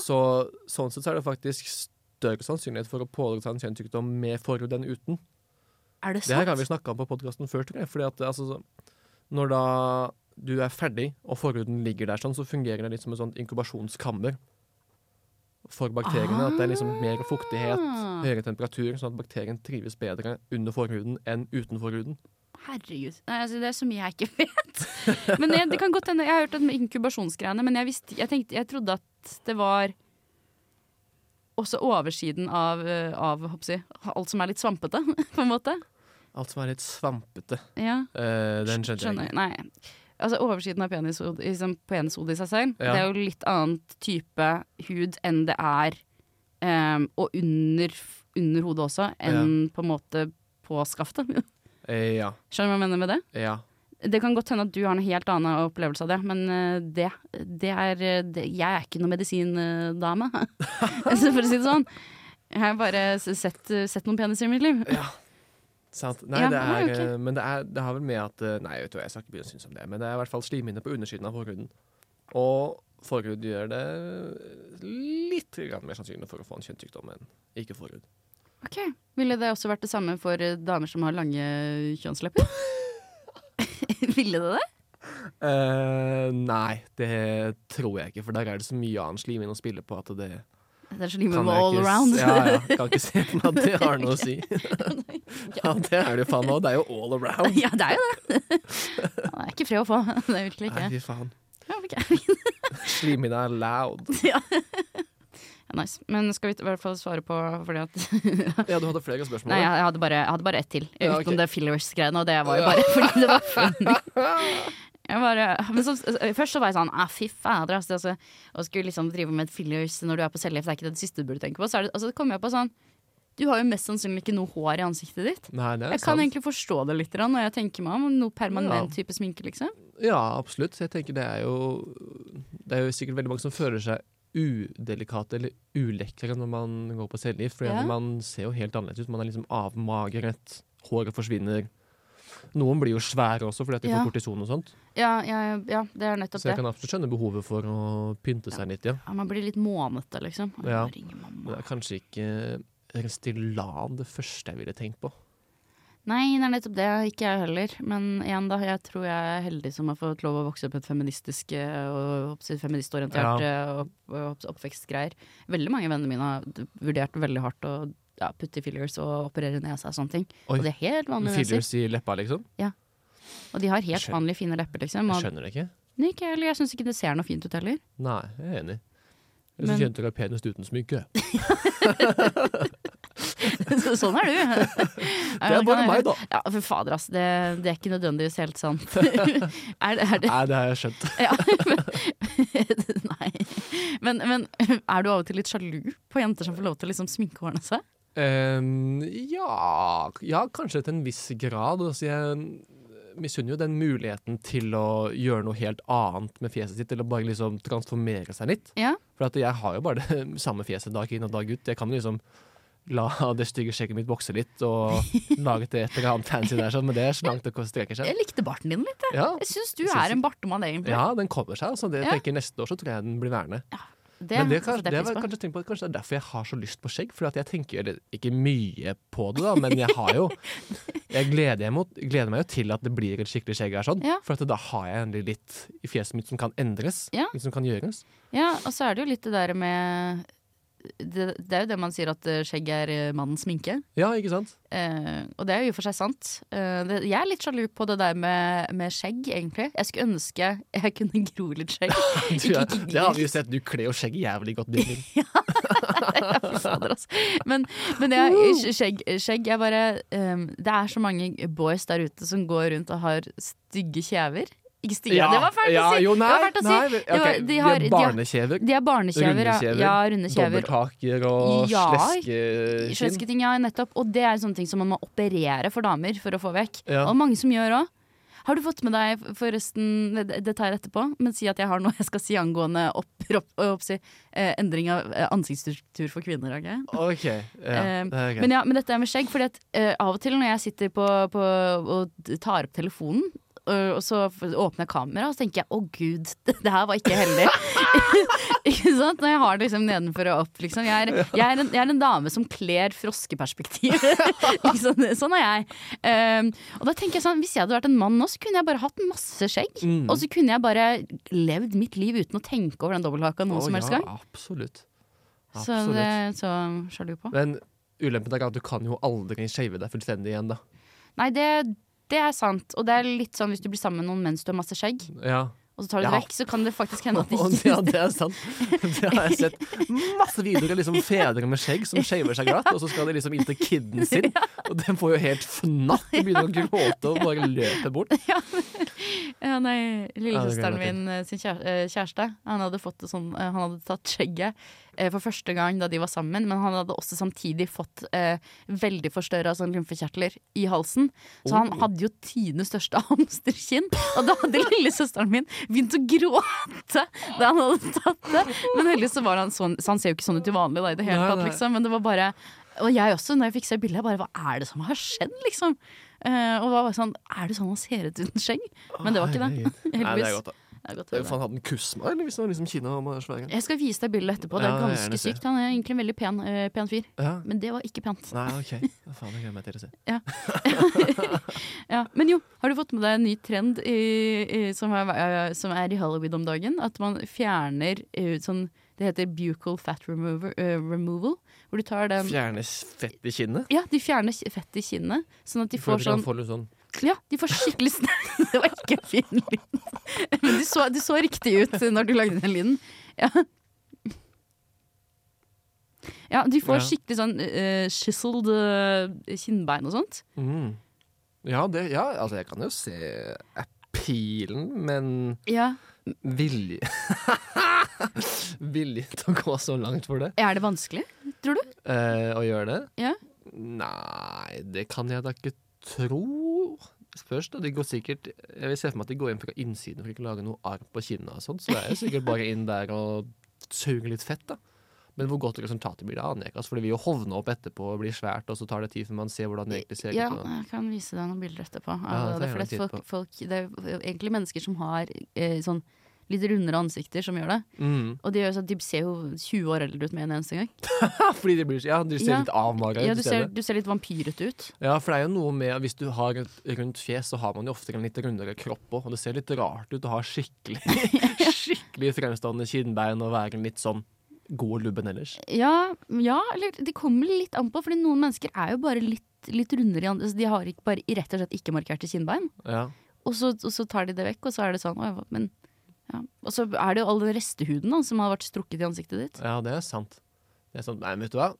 A: Så sånn sett så er det faktisk større sannsynlighet for å pådra seg en kjønnssykdom med forhud enn uten.
B: Er det
A: Det her
B: sant?
A: har vi snakka om på podkasten før, tror jeg. Fordi at altså, så- når da du er ferdig, og forhuden ligger der sånn, så fungerer det litt som et sånt inkubasjonskammer for bakteriene. At det er liksom mer fuktighet,
B: Ah.
A: høyere temperatur, sånn at bakterien trives bedre under forhuden enn uten forhuden.
B: Herregud. Nei, altså, det er så mye jeg ikke vet. Men jeg, det kan godt hende, jeg har hørt om inkubasjonsgreiene, men jeg, visste, jeg, tenkte, jeg trodde at det var også oversiden av, eh, av håper jeg, å si, alt som er litt svampete, på en måte.
A: Alt som er litt svampete.
B: Ja.
A: Eh, den skjønte jeg
B: Skjønner.
A: ikke.
B: Nei. Altså Oversiden av penishod- liksom, penishodet i seg selv,
A: Ja.
B: det er jo litt annet type hud enn det er em, Og under, under hodet også, enn på en måte på skaftet.
A: Eh, ja.
B: Skjønner du hva jeg mener med det?
A: Ja.
B: Det kan godt hende at du har en helt annen opplevelse av det, men eh, det, det er eh, det, Jeg er ikke noen medisindame, Altså, for å si det sånn. Jeg har bare s- sett, sett noen peniser i mitt liv.
A: Sant. Nei,
B: Ja,
A: det
B: nei,
A: er,
B: ok.
A: eh, men det, er, det har vel med at eh, Nei, vet du hva, jeg skal ikke begynne å synes om det, men det er i hvert fall slimhinne på undersiden av forhuden. Og forhud gjør det eh, litt grann mer sannsynlig for å få en kjønnssykdom enn ikke forhud.
B: Ok, Ville det også vært det samme for eh, damer som har lange kjønnslepper? Ville det det?
A: Eh, nei, det tror jeg ikke, for der er det så mye annen slimhinne å spille på at det
B: Det er så lime
A: kan
B: med
A: jeg
B: all
A: ikke, s-
B: around.
A: Ja, ja, kan ikke se for meg at det har noe å si. Ja, det er det jo faen meg, og det er jo all around.
B: ja, det er jo det. Ja, det er ikke fred å få. Det er virkelig
A: Nei,
B: ikke.
A: fy faen.
B: Ja, ok.
A: Slimhinne er loud.
B: Ja, nice. Men skal vi i hvert fall svare på fordi at
A: Ja, du hadde flere spørsmål.
B: Nei, jeg jeg hadde bare, jeg hadde bare ett til.
A: Ja,
B: Utenom
A: ok.
B: det fillers-greiene, og det var jo bare fordi det var funny. Jeg bare, men så, først så var jeg sånn ah, fy fader, altså, altså, å skulle liksom drive med et fillers når du er på cellegift, det er ikke det siste du burde tenke på. Så, er det, og så kom jeg på sånn Du har jo mest sannsynlig ikke noe hår i ansiktet ditt.
A: Nei, det er
B: Jeg kan
A: sant.
B: egentlig forstå det litt grann, når jeg tenker meg om. om Noe permanent type sminke, liksom.
A: Ja, absolutt. Jeg tenker det er jo Det er jo sikkert veldig mange som føler seg udelikate eller ulekre når man går på cellegift, for
B: Ja.
A: man ser jo helt annerledes ut. Man er liksom avmagret, håret forsvinner. Noen blir jo svære også fordi at de
B: Ja.
A: får kortison og sånt.
B: Ja, ja, ja det er nettopp
A: Så jeg
B: det.
A: kan absolutt skjønne behovet for å pynte seg litt, ja.
B: Ja, man blir litt månete, liksom. Å,
A: Ja.
B: jeg må ringe mamma.
A: Men det er kanskje ikke Restylane det første jeg ville tenkt på.
B: Nei, det er nettopp det. Ikke jeg heller. Men igjen, da. Jeg tror jeg er heldig som har fått lov å vokse opp i et feministisk eh, og hoppsi, feministorientert eh, opp, opp, oppvekstgreier. Veldig mange venner mine har d- vurdert veldig hardt å ja, putte i fillers og operere nesa og sånne ting.
A: Oi.
B: Og det er helt vanlige neser.
A: Fillers i leppa, liksom?
B: Og de har helt
A: Skjønner.
B: vanlige, fine lepper, liksom.
A: Jeg
B: Og,
A: skjønner det ikke.
B: nei, ikke jeg heller. Jeg syns ikke det ser noe fint ut heller.
A: Nei, jeg er enig. Jeg
B: Men-
A: syns jenter er penest uten sminke.
B: Så sånn er du.
A: Det er bare meg, da!
B: Ja, for fader, ass. Det, det er ikke nødvendigvis helt sant. er det, er det
A: Nei, det har jeg skjønt.
B: Ja, men, nei. Men, men er du av og til litt sjalu på jenter som får lov til å liksom sminke hårene seg?
A: Ehm, ja, ja, kanskje til en viss grad. Altså, jeg misunner jo den muligheten til å gjøre noe helt annet med fjeset sitt, eller bare liksom transformere seg litt.
B: Ja.
A: For at jeg har jo bare det samme fjeset dag inn og dag ut. Jeg kan liksom la det stygge skjegget mitt vokse litt og lage til et eller annet fancy der, sånn, men det er så langt det streker seg.
B: Jeg likte barten din litt.
A: Ja,
B: Jeg syns du
A: Jeg synes-
B: er en bartemann, egentlig.
A: ja den kommer seg. Altså, det,
B: Ja.
A: jeg tenker Neste år så tror jeg den blir værende.
B: Det,
A: Men det,
B: setter
A: kanskje, det,
B: jeg
A: var,
B: pris på.
A: kanskje, tenkt på, at kanskje det er derfor jeg har så lyst på skjegg. For at jeg tenker eller, ikke mye på det, da, men jeg har jo Jeg gleder, jeg mot, gleder meg jo til at det blir et skikkelig skjegg her, sånn.
B: Ja.
A: For at da har jeg endelig litt i fjeset mitt som kan endres.
B: Ja.
A: Som kan gjøres.
B: Ja, og så er det jo litt det der med det, det er jo det man sier at eh, skjegg er eh, mannens sminke.
A: Ja, ikke sant?
B: Eh, og det er jo i og for seg sant. Eh, det, jeg er litt sjalu på det der med, med skjegg, egentlig. Jeg skulle ønske jeg kunne gro litt skjegg.
A: Du,
B: Ikke- ikke-
A: det har vi jo sett. Du kler jo skjegg jævlig godt. Birgit.
B: Fy fader, altså. Men, men jeg, skjegg, skjegg jeg ehm, bare um, Det er så mange boys der ute som går rundt og har stygge kjever. Ikke stiga, det var fælt å si!
A: Jo, nei,
B: det var fælt å si.
A: nei,
B: Det var-
A: ok,
B: de har- de har-
A: barnekjever.
B: De er barnekjever, ja.
A: Rundekjever,
B: ja. Runde kjever.
A: Dobbelthaker og
B: Ja,
A: sleskeskinn.
B: Sløsketing, ja, nettopp. Og det er sånne ting som man må operere for damer for å få vekk.
A: Ja.
B: Og mange som gjør òg. Har du fått med deg, forresten, det, det tar jeg etterpå, men si at jeg har noe jeg skal si angående opp, opp, opp, si, eh, endring av eh, ansiktsstruktur for kvinner. ok?
A: OK. Ja,
B: Eh,
A: det er greit.
B: Men, ja, men dette er med skjegg, fordi at eh, av og til når jeg sitter på, på og tar opp telefonen eh, og så f- åpner jeg kameraet, og så tenker jeg 'å gud, det, det her var ikke heldig'. ikke sant? Når jeg har det liksom nedenfor og opp, liksom. Jeg er, jeg er, en, jeg er en dame som kler froskeperspektiv. Ikke sant? sånn er jeg. Ehm, og da tenker jeg sånn, hvis jeg hadde vært en mann nå, så kunne jeg bare hatt masse skjegg.
A: Mm.
B: Og så kunne jeg bare levd mitt liv uten å tenke over den dobbelthaka noen
A: Å,
B: som helst gang.
A: Ja, absolutt.
B: Så
A: absolutt.
B: det så sjalu på.
A: Men ulempen er at du kan jo aldri shave deg fullstendig igjen, da.
B: Nei, det, det er sant. Og det er litt sånn hvis du blir sammen med noen mens du har masse skjegg,
A: Ja.
B: og så tar du
A: Ja.
B: det vekk, så kan det faktisk hende at det
A: Og
B: ikke
A: ja, det er sant. Det har jeg sett masse videoer av liksom fedre med skjegg som shaver seg glatt, og så skal de liksom inn til kiden sin, og den får jo helt fnatt og begynner å gråte og bare løper bort.
B: ja, Nei, lillesøsteren
A: Ja, det
B: min eh, sin kjære- eh, kjæreste, han hadde fått det sånn eh, Han hadde tatt skjegget eh, for første gang da de var sammen, men han hadde også samtidig fått eh, veldig forstørra sånn lymfekjertler i halsen. Så han
A: Oh.
B: hadde jo tidenes største hamsterkinn, og da hadde lillesøsteren min begynt å gråte da han hadde tatt det. Men heldigvis så var han sånn, så han ser jo ikke sånn ut til vanlig da i det hele
A: Nei,
B: tatt,
A: nei.
B: liksom, men det var bare og jeg også, når jeg fikk se bildet, jeg bare hva er det som har skjedd, liksom? Eh, og var bare sånn, er det sånn han ser ut uten skjegg? Men det var ikke det.
A: Herregud. Nei, det er
B: Heldigvis.
A: godt, da.
B: Det er godt å
A: Faen,
B: høre.
A: hadde den kusma, eller hvis den var liksom kina og svære?
B: Jeg skal vise deg bildet etterpå. Det
A: Ja,
B: er
A: det vil jeg
B: ganske
A: gjerne se.
B: sykt. Han er egentlig en veldig pen, eh, pen fyr.
A: Ja.
B: Men det var ikke pent.
A: Nei, OK. Ja, Faen, det gleder jeg meg til å se.
B: Ja. Men jo, har du fått med deg en ny trend i, i, som, er, eh, som er i Hollywood om dagen? At man fjerner eh, sånn Det heter bucal fat remover, eh, removal. Hvor du tar den
A: Fjerne fett i kinnet.
B: Ja, de fjerner ki- fett i kinnet. Sånn at de
A: For
B: får
A: at du
B: sånn
A: kan få litt sånn
B: Ja, de får skikkelig snø. Det var ikke en fin lyd. Men du så, du så riktig ut når du lagde den lyden. Ja. Ja, de får
A: Ja.
B: skikkelig sånn uh, chiseled eh, kinnbein og sånt.
A: mm. ja, det, ja, altså, jeg kan jo se appealen, men
B: Ja.
A: Vilje Vilje til å gå så langt for det?
B: Er det vanskelig, tror du?
A: Eh, å gjøre det?
B: Ja.
A: Nei, det kan jeg da ikke tro. Spørs, da. De går sikkert Jeg vil se for meg at de går inn fra innsiden for ikke å lage noe arr på kinnet og sånt, så det er jo sikkert bare inn der og suge litt fett, da. Men hvor godt resultatet blir, det aner jeg ikke. Altså, for det vil jo hovne opp etterpå og bli svært, og så tar det tid før man ser hvordan det egentlig ser
B: Ja,
A: ut. og-
B: jeg kan vise deg noen bilder etterpå.
A: Ja, det
B: av det,
A: tar
B: for det,
A: jeg
B: er
A: en
B: folk, folk, det er egentlig mennesker som har eh, sånn litt rundere ansikter, som gjør det.
A: Mm.
B: Og de, gjør sånn at de ser jo 20 år eldre ut med en eneste gang.
A: Ja, fordi de blir så- Ja, de ser
B: Ja.
A: litt avmagra ut
B: Ja,
A: i
B: du
A: stedet.
B: ser, du ser litt vampyrete ut.
A: Ja, for det er jo noe med Hvis du har et rundt fjes, så har man jo ofte en litt rundere kropp òg. Og det ser litt rart ut å ha skikkelig, skikkelig fremstående kinnbein og være litt sånn god og lubben ellers.
B: Ja, ja eller det kommer litt an på, fordi noen mennesker er jo bare litt, litt rundere i andre. Så de har ikke, bare rett og slett ikke markerte kinnbein.
A: Ja.
B: Og så, og så tar de det vekk, og så er det sånn «Oi, hva- men, ja. Og så er det jo all den restehuden da, som har vært strukket i ansiktet ditt.
A: ja, det er sant. Det er sant. Nei, men vet du hva?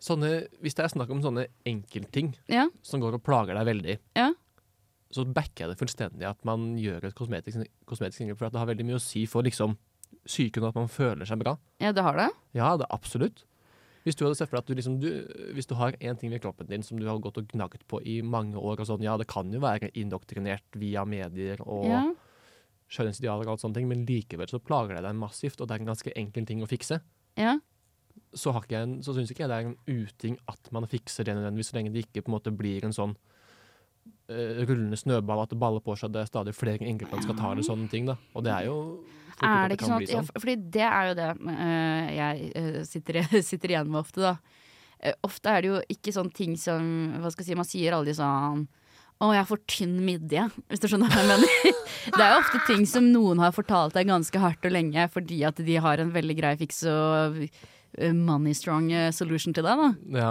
A: Sånne, hvis det er snakk om sånne enkeltting
B: Ja,
A: som går og plager deg veldig,
B: Ja.
A: så backer jeg det fullstendig at man gjør et kosmetisk, kosmetisk inngrep, for at det har veldig mye å si for liksom psyken og at man føler seg bra.
B: ja det har det.
A: Ja, det er absolutt. Hvis du hadde sett for deg at du liksom, du, hvis du har én ting ved kroppen din som du har gått og gnagd på i mange år, og sånn, ja, det kan jo være indoktrinert via medier og
B: Ja.
A: skjønnhetsidealer og alt sånne ting, men likevel så plager det deg massivt, og det er en ganske enkel ting å fikse,
B: Ja.
A: så, har ikke jeg en, så syns ikke jeg det er en uting at man fikser det nødvendigvis, så lenge det ikke på en måte blir en sånn eh, rullende snøball at det baller på seg, det er stadig flere inngrep man skal ta, eller sånne ting, da. Og det er jo fort gjort
B: Er
A: at
B: det ikke sånn at, ja, for- fordi det er jo det eh, jeg eh, sitter, sitter igjen med ofte, da. Eh, ofte er det jo ikke sånne ting som Hva skal jeg si, man sier aldri sånn å, jeg har for tynn midje, hvis du skjønner hva jeg mener. Det er jo ofte ting som noen har fortalt deg ganske hardt og lenge fordi at de har en veldig grei fiks og eh, money strong eh, solution til deg, da.
A: Ja.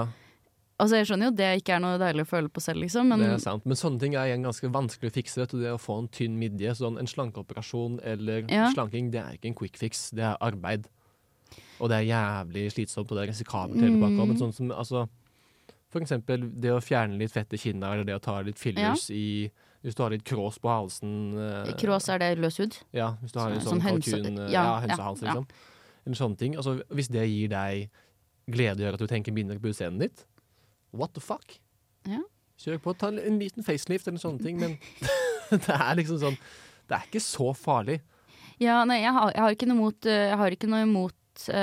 B: Altså, jeg skjønner jo det ikke er noe deilig å føle på selv, liksom, men
A: det er sant. Men sånne ting er igjen ganske vanskelig å fikse. Vet du, det å få en tynn midje, sånn en slankeoperasjon eller
B: Ja.
A: slanking, det er ikke en quick fix. Det er arbeid. Og det er jævlig slitsomt, og det er risikabelt
B: Mm.
A: hele pakka. Men sånn som altså For eksempel det å fjerne litt fett i kinna, eller det å ta litt fillers i Hvis du har litt krås på halsen eh,
B: Krås, er det løs hud?
A: Ja, hvis du har en
B: Sånn-
A: sånn,
B: sånn hønse-
A: kalkun
B: ja,
A: eh, Ja, hønsehals,
B: ja, ja.
A: liksom. Eller sånne ting. Altså, hvis det gir deg glede, gjør at du tenker mindre på utseendet ditt, what the fuck?
B: Ja.
A: Kjør på, ta en- en liten facelift eller sånne ting, men det er liksom sånn Det er ikke så farlig.
B: Ja, nei, jeg har, jeg har ikke noe imot, eh, jeg har ikke noe imot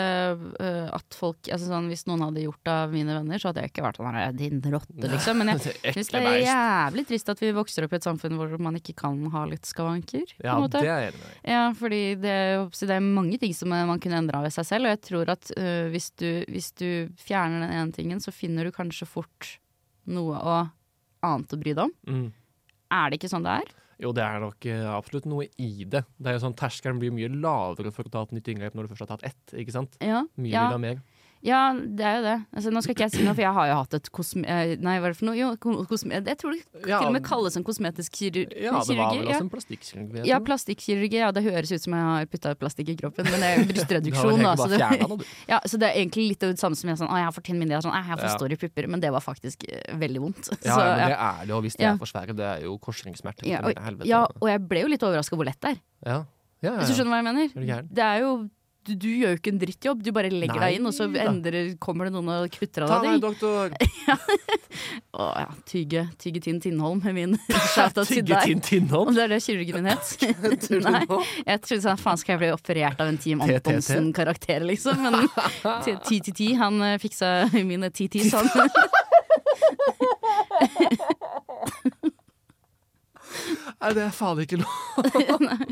B: eh, eh, at folk altså sånn, Hvis noen hadde gjort det av mine venner, så hadde jeg ikke vært sånn her, din rotte, liksom. Men jeg
A: Det er
B: syns
A: ekle
B: det er
A: beist.
B: jævlig trist at vi vokser opp i et samfunn hvor man ikke kan ha litt skavanker. på
A: Ja,
B: en måte.
A: det er jeg enig med. deg i.
B: Ja, fordi det, er jo- så det er mange ting som eh, man kunne endra ved seg selv. Og jeg tror at eh, hvis, du, hvis du fjerner den ene tingen, så finner du kanskje fort noe å, annet å bry deg om.
A: Mm.
B: Er det ikke sånn det er?
A: Jo, det er nok eh, absolutt noe i det. Det er jo sånn Terskelen blir mye lavere for å ta et nytt inngrep når du først har tatt ett. ikke sant?
B: Ja.
A: Mye
B: ja.
A: vil ha mer.
B: ja det er jo det. Altså, nå skal ikke jeg si noe, for jeg har jo hatt et kosme... eh, Nei, hva er det for noe? Jo, ko- kosme... Jeg tror det
A: Ja,
B: til og med kalles en kosmetisk kirur-
A: ja, det var vel
B: kirurgi. Ja.
A: også en plastikkirurgi. jeg
B: Ja,
A: tror.
B: plastikkirurgi. Ja, det høres ut som jeg har putta plastikk i kroppen, men det
A: Du har
B: er jo
A: vel
B: brystreduksjon.
A: egentlig
B: da,
A: bare
B: så altså det-
A: fjernet den, du.
B: Ja, så det er egentlig litt det samme som jeg er sånn, «Å, jeg har for tynn mindre, jeg er sånn, «Æ, jeg har for
A: Ja.
B: store pupper, men det var faktisk eh, veldig vondt.
A: Ja, ja,
B: så,
A: men
B: ja.
A: det er det, og hvis det
B: Ja.
A: er for svære, det er jo korsringssmerter. Ja,
B: Ja, og-
A: helvete.
B: ja, og jeg ble jo litt overraska hvor lett det er,
A: ja. ja, ja,
B: hvis du
A: ja.
B: skjønner hva jeg
A: Er du
B: mener.
A: gæren?
B: Det er jo du, du gjør jo ikke en drittjobb, du bare legger
A: Nei
B: deg inn, og så
A: da.
B: endrer, kommer det noen og kutter
A: Ta
B: av
A: meg,
B: deg.
A: doktor!
B: Å ja, Tygge, tygge Tinn Tindholm er min shout-out til
A: Tygge
B: deg.
A: Tinn Tinnholm.
B: Om det er det kirurgen min het?
A: Tror du
B: Nei.
A: nå?
B: Jeg trodde sånn, faen skal jeg bli operert av en Team
A: TTT?
B: Antonsen-karakter, liksom. Men TTT, han eh, fiksa mine sånn. TTs, han.
A: Nei, det er faen ikke lov.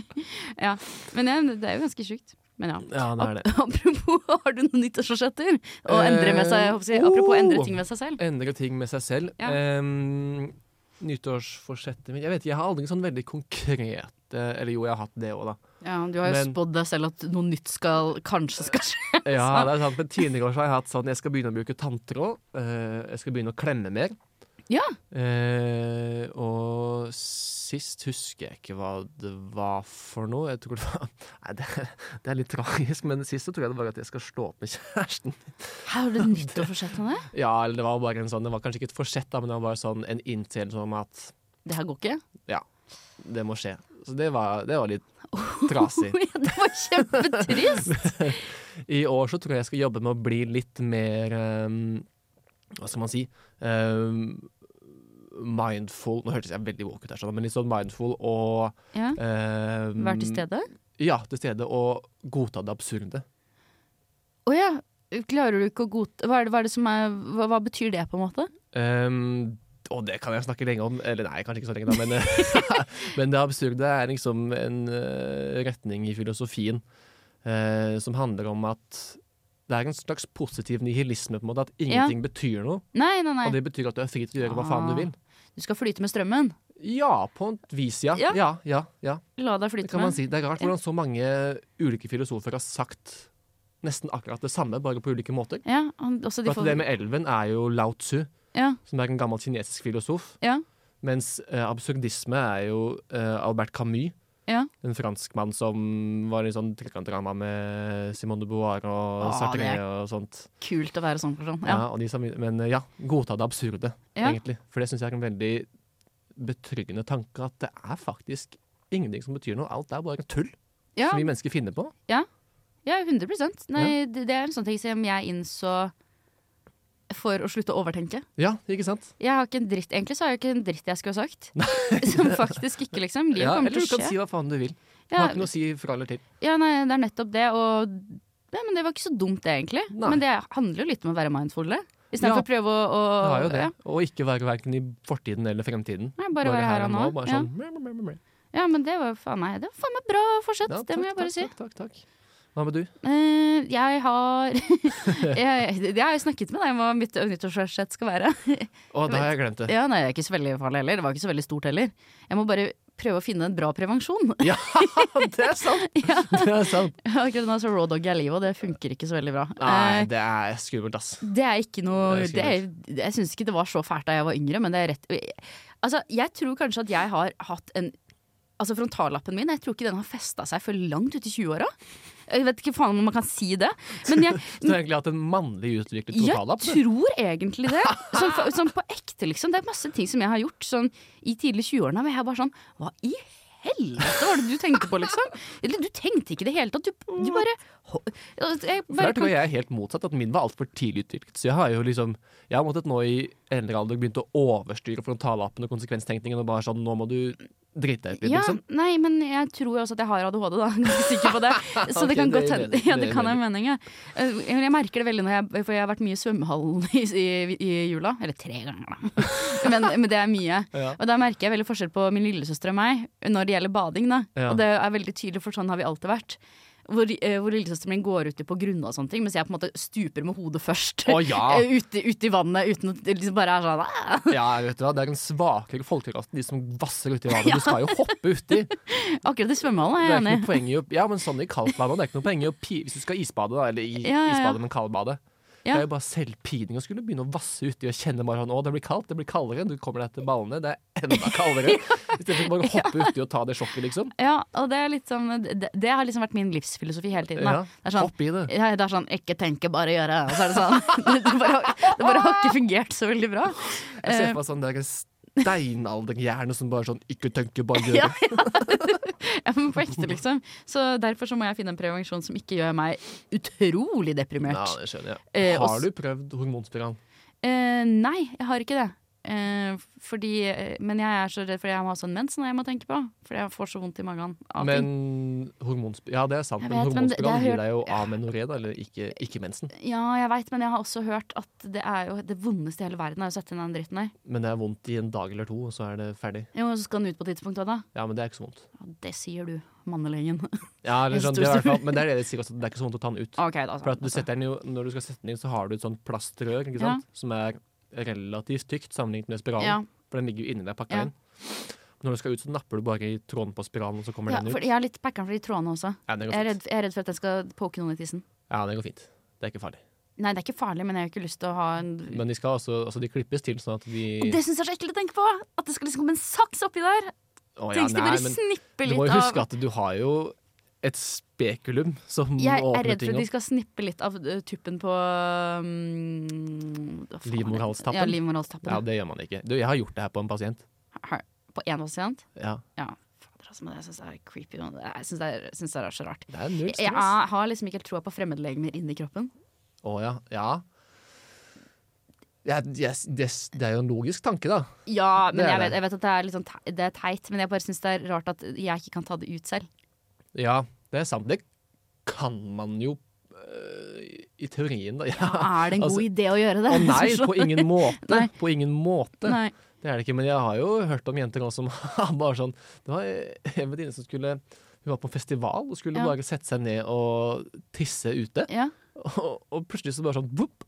B: Ja, men ja, det er jo ganske sjukt. Men ja.
A: Ja, det er det.
B: Apropos, har du noen nyttårsforsetter? Å endre med seg, jeg håper å si,
A: Eh,
B: apropos
A: oh!
B: endre ting med seg selv.
A: Endre ting med seg selv.
B: Ja.
A: Ehm, nyttårsforsettet mitt Jeg vet, jeg har aldri sånn veldig konkret Eller jo, jeg har hatt det òg, da.
B: Ja, Du har jo
A: Men-
B: spådd deg selv at noe nytt skal kanskje skal skje.
A: Ja, det er sant, men Tidligere år så har jeg hatt sånn Jeg skal begynne å bruke tanntråd. eh, jeg skal begynne å klemme mer.
B: Ja.
A: Eh, og sist husker jeg ikke hva det var for noe. Jeg tror det var Nei, det, det er litt tragisk, men sist så tror jeg det var at jeg skal slå opp med kjæresten.
B: Her har du et nyttårsforsett om det?
A: Ja, eller det var bare en sånn Det var kanskje ikke et forsett, da, men det var bare sånn en innseelse om at
B: Det her går ikke.
A: det må skje. Så det var, det var litt trasig.
B: Ja, det var kjempetrist!
A: I år så tror jeg jeg skal jobbe med å bli litt mer ehm, Hva skal man si? Ehm, mindful Nå hørtes jeg veldig woke ut, her, sånn, men litt sånn mindful og
B: Ja,
A: ehm,
B: Vær til stede.
A: Ja, til stede og godta det absurde.
B: Å ja. Klarer du ikke å godta hva, er det- hva er det som er hva, hva betyr det, på en måte?
A: Ehm, og det kan jeg snakke lenge om. Eller nei, kanskje ikke så lenge, da, men, men det absurde er liksom en eh, retning i filosofien eh, som handler om at det er en slags positiv nihilisme, på en måte, at ingenting betyr noe.
B: Nei, nei, Ah.
A: Og
B: nei.
A: det betyr at du er fri til å gjøre hva faen du vil.
B: Du skal flyte med strømmen.
A: Ja, på et vis, ja.
B: Ja.
A: Ja, ja, ja.
B: La deg
A: Det
B: flyte
A: kan man
B: med.
A: si. Det er rart
B: Ja.
A: hvordan så mange ulike filosofer har sagt nesten akkurat det samme, bare på ulike måter.
B: Ja, og også de
A: For at det
B: får
A: med elven er jo Lao Tzu,
B: Ja,
A: som er en gammel kinesisk filosof.
B: ja,
A: Mens eh, absurdisme er jo eh, Albert Camus,
B: ja.
A: en franskmann som var i sånn trekantdrama med Simone de Beauvoir og
B: Ah,
A: Sartre
B: det er-
A: og sånt.
B: Kult å være sånn person.
A: Ja.
B: Ja.
A: og de som, men eh, ja, godta det absurde,
B: Ja.
A: egentlig. For det syns jeg er en veldig betryggende tanke, at det er faktisk ingenting som betyr noe. Alt er bare tull
B: ja,
A: som vi mennesker finner på.
B: Ja, 100 Nei, det, det er en sånn ting som jeg innså for å slutte å overtenke.
A: Ja, ikke sant?
B: Jeg har ikke en dritt, Egentlig så har jeg ikke en dritt jeg skulle ha sagt. som faktisk ikke, liksom. Livet
A: Ja,
B: kommer
A: eller
B: til
A: du
B: å
A: kan
B: skje.
A: si hva faen du vil. Det
B: ja,
A: har ikke noe å si fra eller til.
B: ja, nei, det er nettopp det. Og ja, men det var ikke så dumt, det, egentlig.
A: Nei.
B: Men det handler jo litt om å være mindful.
A: Ja.
B: Istedenfor for å prøve å, å
A: Det har jo det.
B: Ja,
A: Og ikke være verken i fortiden eller fremtiden.
B: nei, bare være her og nå.
A: Bare
B: ja.
A: sånn meh, meh, meh, meh.
B: ja, men det var jo faen meg Det var faen meg bra fortsett,
A: Ja,
B: det må
A: takk,
B: jeg bare
A: takk, Takk,
B: si.
A: takk, takk. Hva med du?
B: Eh, jeg har jeg, Det har jeg snakket med deg om hva mitt nyttårsforsett skal være.
A: Å, da har jeg glemt det.
B: Ja, nei, det er ikke så veldig farlig heller. Det var ikke så veldig stort heller. Jeg må bare prøve å finne en bra prevensjon.
A: Ja, det er sant! Det er sant.
B: Akkurat nå så raw dog jeg livet, og det funker ikke så veldig bra.
A: Nei,
B: Eh,
A: det er skummelt, ass.
B: det er ikke noe
A: Det
B: det
A: er
B: er, Jeg syns ikke det var så fælt da jeg var yngre, men det er rett Altså, jeg tror kanskje at jeg har hatt en altså frontallappen min Jeg tror ikke den har festa seg før langt ut i 20-åra. Jeg vet ikke faen om man kan si det. Men jeg,
A: Så du har egentlig hatt en mannlig utviklet totalapp?
B: jeg tror egentlig det. Sånn, for- sånn på ekte, liksom. Det er masse ting som jeg har gjort sånn, i tidlig 20-årene. Men jeg er bare sånn Hva i helvete var det du tenkte på, liksom? Eller du tenkte ikke i det hele tatt. Du, du bare jeg
A: For
B: bare
A: der tror
B: kan,
A: jeg jeg er helt motsatt, at min var altfor tidlig utviklet. Så jeg har jo liksom Jeg har måttet nå i eldre alder begynt å overstyre frontallappen og konsekvenstenkningen og bare sånn Nå må du drite deg ut litt,
B: ja,
A: liksom.
B: nei, men jeg tror jo også at jeg har ADHD, da. Jeg er ganske sikker på det. Så det
A: Ok,
B: kan
A: det
B: godt
A: er
B: hende.
A: mening- det
B: Ja, det
A: er
B: kan være meningen. Eh, men Jeg merker det veldig når jeg For jeg har vært mye i svømmehallen i, i, i jula. Eller tre ganger, da. Men, men det er mye.
A: Ja.
B: Og da merker jeg veldig forskjell på min lillesøster og meg når det gjelder bading. da
A: Ja.
B: Og det er veldig tydelig, for sånn har vi alltid vært. Hvor, eh, hvor lillesøsteren min går uti på grunna og sånne ting, mens jeg på en måte stuper med hodet først.
A: Å, ja.
B: Eh, ute, ute i vannet uten å det liksom bare er sånn "Ah!"
A: Ja, vet du hva, Det er en svakere folkeklasse, de som vasser uti vannet. Du skal jo hoppe uti.
B: Akkurat i svømmehallen er
A: Det
B: jeg
A: er ikke noe
B: enig.
A: poeng i å Ja, men sånn i kaldtvann også, Det er ikke noe poeng i å pi... Hvis du skal isbade, da, eller i,
B: Ja, ja, ja.
A: isbade, men kaldbade.
B: Ja.
A: Det er jo bare selvpining å skulle begynne å vasse uti og kjenne bare sånn Å, det blir kaldt, det blir kaldere. Du kommer deg til ballene, det er enda kaldere. Istedenfor bare å hoppe uti og ta det sjokket, liksom.
B: Ja, og det, er litt sånn- det, det har liksom vært min livsfilosofi hele tiden.
A: Ja,
B: Da. Det er sånn,
A: Hopp i det.
B: Ja, det er sånn 'ikke tenke, bare gjøre'. Og så er det sånn. Det, det, bare, har- det bare har ikke fungert så veldig bra.
A: Jeg ser
B: Eh,
A: for meg sånn der steinalderhjerne som bare sånn Ikke tenke, bare gjøre.
B: ja, ja, men på ekte, liksom. Så derfor så må jeg finne en prevensjon som ikke gjør meg utrolig
A: Ja,
B: deprimert.
A: det skjønner jeg.
B: Eh, og
A: Har
B: s-
A: du prøvd hormonspiral?
B: Eh, nei, jeg har ikke det. Eh, fordi, eh, men jeg er så redd for jeg må ha sånn mens når jeg må tenke på. Fordi jeg får så vondt i magen. Av ting.
A: Men hormonspiral Ja, det er sant,
B: Jeg
A: men
B: vet, men det- det
A: hormonspiral
B: har jeg
A: gir deg jo amenoré, da, eller ikke, ikke mensen.
B: Ja, jeg veit, men jeg har også hørt at det er jo det vondeste i hele verden er å sette inn den dritten der.
A: Men det er vondt i en dag eller to, og så er det ferdig.
B: Jo, og så skal den ut på tidspunktet da.
A: Ja, men det er ikke så vondt.
B: Ja, det sier du, mannelegen.
A: Ja, eller
B: En
A: sånn,
B: stor
A: det er i hvert
B: stor-
A: fall, men det er det de sier også, at det er ikke så vondt å ta den ut.
B: OK, da.
A: For at du setter den jo, når du skal sette den inn, så har du et sånt plastrør, ikke sant, som er relativt tykt sammenlignet med spiralen,
B: Ja.
A: for den ligger jo inni deg pakka
B: Ja.
A: inn. Når du skal ut, så napper du bare i tråden på spiralen, og så kommer
B: Ja,
A: den
B: for
A: ut.
B: jeg har litt packeren for de trådene også.
A: Ja, det går
B: Jeg er,
A: fint.
B: redd, jeg er redd for at jeg skal poke noen i tissen.
A: Ja, det går fint. Det er ikke farlig.
B: Nei, det er ikke farlig, men jeg har ikke lyst til å ha en
A: Men de skal altså, altså de klippes til sånn at de
B: Og det syns jeg er så ekkelt å tenke på! At det skal liksom komme en saks oppi
A: Å,
B: der!
A: ja,
B: Tenk hvis de
A: nei,
B: bare
A: men
B: snipper
A: Du må
B: litt
A: jo huske
B: av
A: at du har jo et spekulum som
B: Jeg er
A: åpner
B: redd for
A: ting
B: at de
A: opp.
B: skal snippe litt av ø, tuppen på um, hva faen er det?
A: Livmorhalstappen?
B: Ja, livmorhalstappen.
A: Ja, det gjør man ikke. Du, jeg har gjort det her på en pasient.
B: Her, På én pasient?
A: Ja,
B: Ja. Fader, altså, men jeg syns det er creepy. og Jeg syns det, er- jeg synes det er så rart.
A: det er null
B: Jeg, jeg
A: stress.
B: har liksom ikke helt troa på fremmedlegemer inni kroppen.
A: Å ja. Ja. Ja, yes, yes, det er jo en logisk tanke, da.
B: Ja,
A: Det
B: men
A: er
B: jeg
A: det.
B: vet, jeg vet at det er, litt sånn te det er teit, men jeg bare syns det er rart at jeg ikke kan ta det ut selv.
A: Ja, det er sant. Det kan man jo øh, i teorien, da. Ja.
B: Er det en god
A: Altså,
B: idé å gjøre det?
A: Å nei,
B: Sånn.
A: på ingen måte!
B: Nei.
A: På ingen måte.
B: Nei.
A: Det er det ikke, men jeg har jo hørt om jenter også som har bare sånn Det var en venninne som skulle Hun var på en festival og skulle
B: Ja.
A: bare sette seg ned og tisse ute.
B: Ja.
A: Og, og plutselig så bare sånn boop,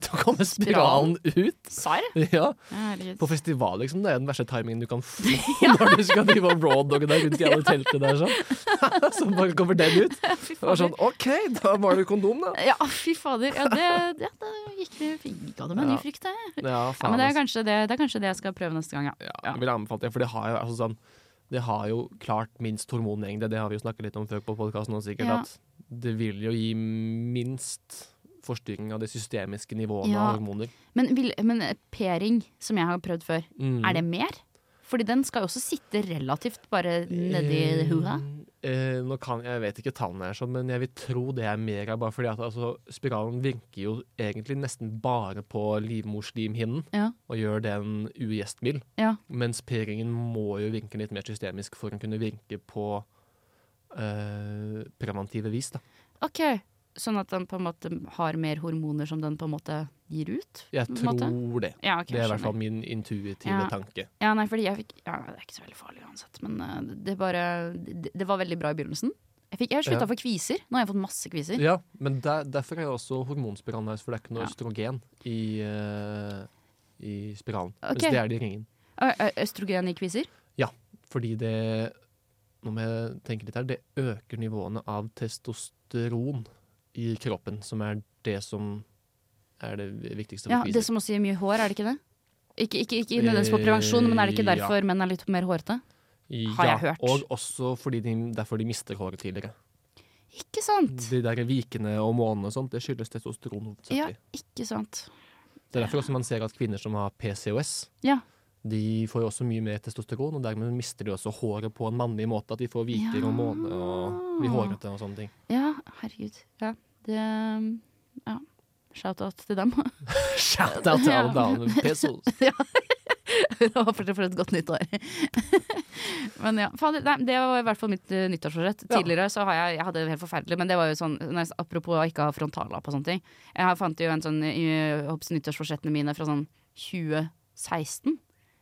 A: Så kommer spiralen
B: Spiralen.
A: ut!
B: Sarr?
A: Ja,
B: Herregud.
A: På festival, liksom. Det er den verste timingen du kan få når du skal drive og rawdogge deg rundt i alle teltene der sånn. Så bare kommer den ut.
B: Fy
A: Det var
B: fader.
A: sånn OK, da var det kondom, da.
B: Ja, fy fader. Ja, det, ja, da gikk det fikk av det med
A: Ja.
B: en ny frykt, jeg.
A: Ja,
B: Ja,
A: faen,
B: men det er,
A: altså.
B: kanskje det, det er kanskje det jeg skal prøve neste gang, ja.
A: Ja, jeg vil anbefale det, for det har jo altså sånn Det har jo klart minst hormonmengde, det har vi jo snakket litt om før på podkasten nå sikkert,
B: Ja.
A: at det vil jo gi minst forstyrring av de systemiske nivåene
B: Ja.
A: av hormoner.
B: Men, vil- men eh, p-ring, som jeg har prøvd før,
A: Mm.
B: er det mer? Fordi den skal jo også sitte relativt bare nedi hua.
A: Eh, eh, nå kan, jeg vet ikke tallene her, sånn, men jeg vil tro det er mer av bare fordi at altså, spiralen virker jo egentlig nesten bare på livmorslimhinnen
B: Ja.
A: og gjør den ugjestmild.
B: Ja.
A: Mens p-ringen må jo virke litt mer systemisk for å kunne virke på eh, preventive vis. Da.
B: Ok, Sånn at den på en måte har mer hormoner som den på en måte gir ut?
A: Jeg
B: på en
A: tror det.
B: måte? Ja, ok,
A: Det er i
B: skjønner.
A: hvert fall min intuitive
B: Ja.
A: tanke.
B: Ja, nei, fordi jeg fikk Ja, det er ikke så veldig farlig uansett, men eh, det bare Det, det var veldig bra i begynnelsen. Jeg, fikk, jeg har slutta
A: Ja.
B: å få kviser. Nå har jeg fått masse kviser.
A: Ja, men der, derfor er jo også hormonspiralen her, for det er ikke noe
B: Ja.
A: østrogen i, eh, i spiralen. Mens
B: Ok.
A: det er det i ringen.
B: Ø- ø- Østrogen i kviser?
A: Fordi det Nå må jeg tenke litt her. Det øker nivåene av testosteron i kroppen, som er det som er det viktigste
B: Ja,
A: for
B: det
A: kviser.
B: som også gir mye hår, er det ikke det? Ikke, ikke, ikke nødvendigvis på prevensjon, men er det ikke
A: Eh,
B: derfor menn er litt mer hårete? Har jeg hørt.
A: Og også fordi de, derfor de mister håret tidligere.
B: Ikke sant?
A: De der vikene og månene og sånt, det skyldes testosteron
B: Ja,
A: hovedsakelig.
B: ikke sant.
A: Det er derfor også man ser at kvinner som har PCOS,
B: Ja.
A: de får jo også mye mer testosteron, og dermed mister de også håret på en mannlig måte. At de får viker og måne og blir
B: Ja.
A: hårete og sånne ting.
B: Ja, herregud. Ja, det Ja. Shout-out til dem.
A: Shout out til alle damene med PCOS.
B: Jeg Håper dere får et godt nytt år. men ja. Fader, nei, det var i hvert fall mitt eh, nyttårsforsett.
A: Ja.
B: Tidligere så har jeg, jeg hadde det helt forferdelig, men det var jo sånn nei, Apropos å ikke ha frontallapp og sånne ting. Jeg har- fant jo en sånn eh, hopps nyttårsforsettene mine fra sånn 2016.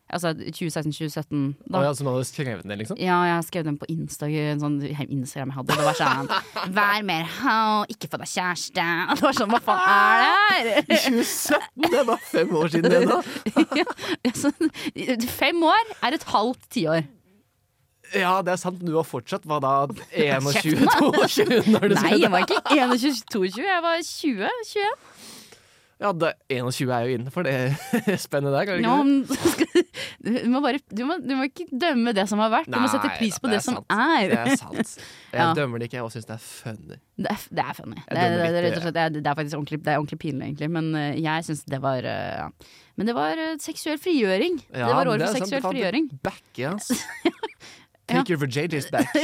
B: Altså 2016-2017.
A: Å
B: Da.
A: ja, som hadde skrevet ned, liksom?
B: Ja, jeg skrev den på Insta, en sånn Instagram jeg hadde. og Det var sånn Vær mer ho, ikke få deg kjæreste. Det var sånn, hva faen er det her?
A: 2017! Det er bare fem år siden det, da.
B: Ja, så- Fem år er et halvt tiår.
A: Ja, det er sant. Du var fortsatt hva da 21-22 når det
B: Nei, jeg
A: skjedde?
B: var ikke 21, 22, jeg var 20. 21.
A: Ja, det, 21 er jo innenfor det spennet der, er det
B: Nå,
A: ikke det?
B: du, må bare, du, må, du må ikke dømme det som har vært, du må sette
A: Nei,
B: pris på
A: da,
B: det,
A: er
B: som
A: sant.
B: er.
A: Det er sant. Jeg
B: Ja.
A: dømmer det ikke, jeg også syns det er funny.
B: Det er, det er funny. Det,
A: dømmer
B: det, det,
A: litt,
B: rett og slett, det, er, det er faktisk ordentlig, det er ordentlig pinlig, egentlig. Men eh, jeg syns det var eh, ja. Men det var eh, seksuell frigjøring.
A: Ja,
B: det var
A: men er
B: år for
A: sant, faen,
B: seksuell
A: det-
B: frigjøring.
A: Back, yes. Take your JJ's back.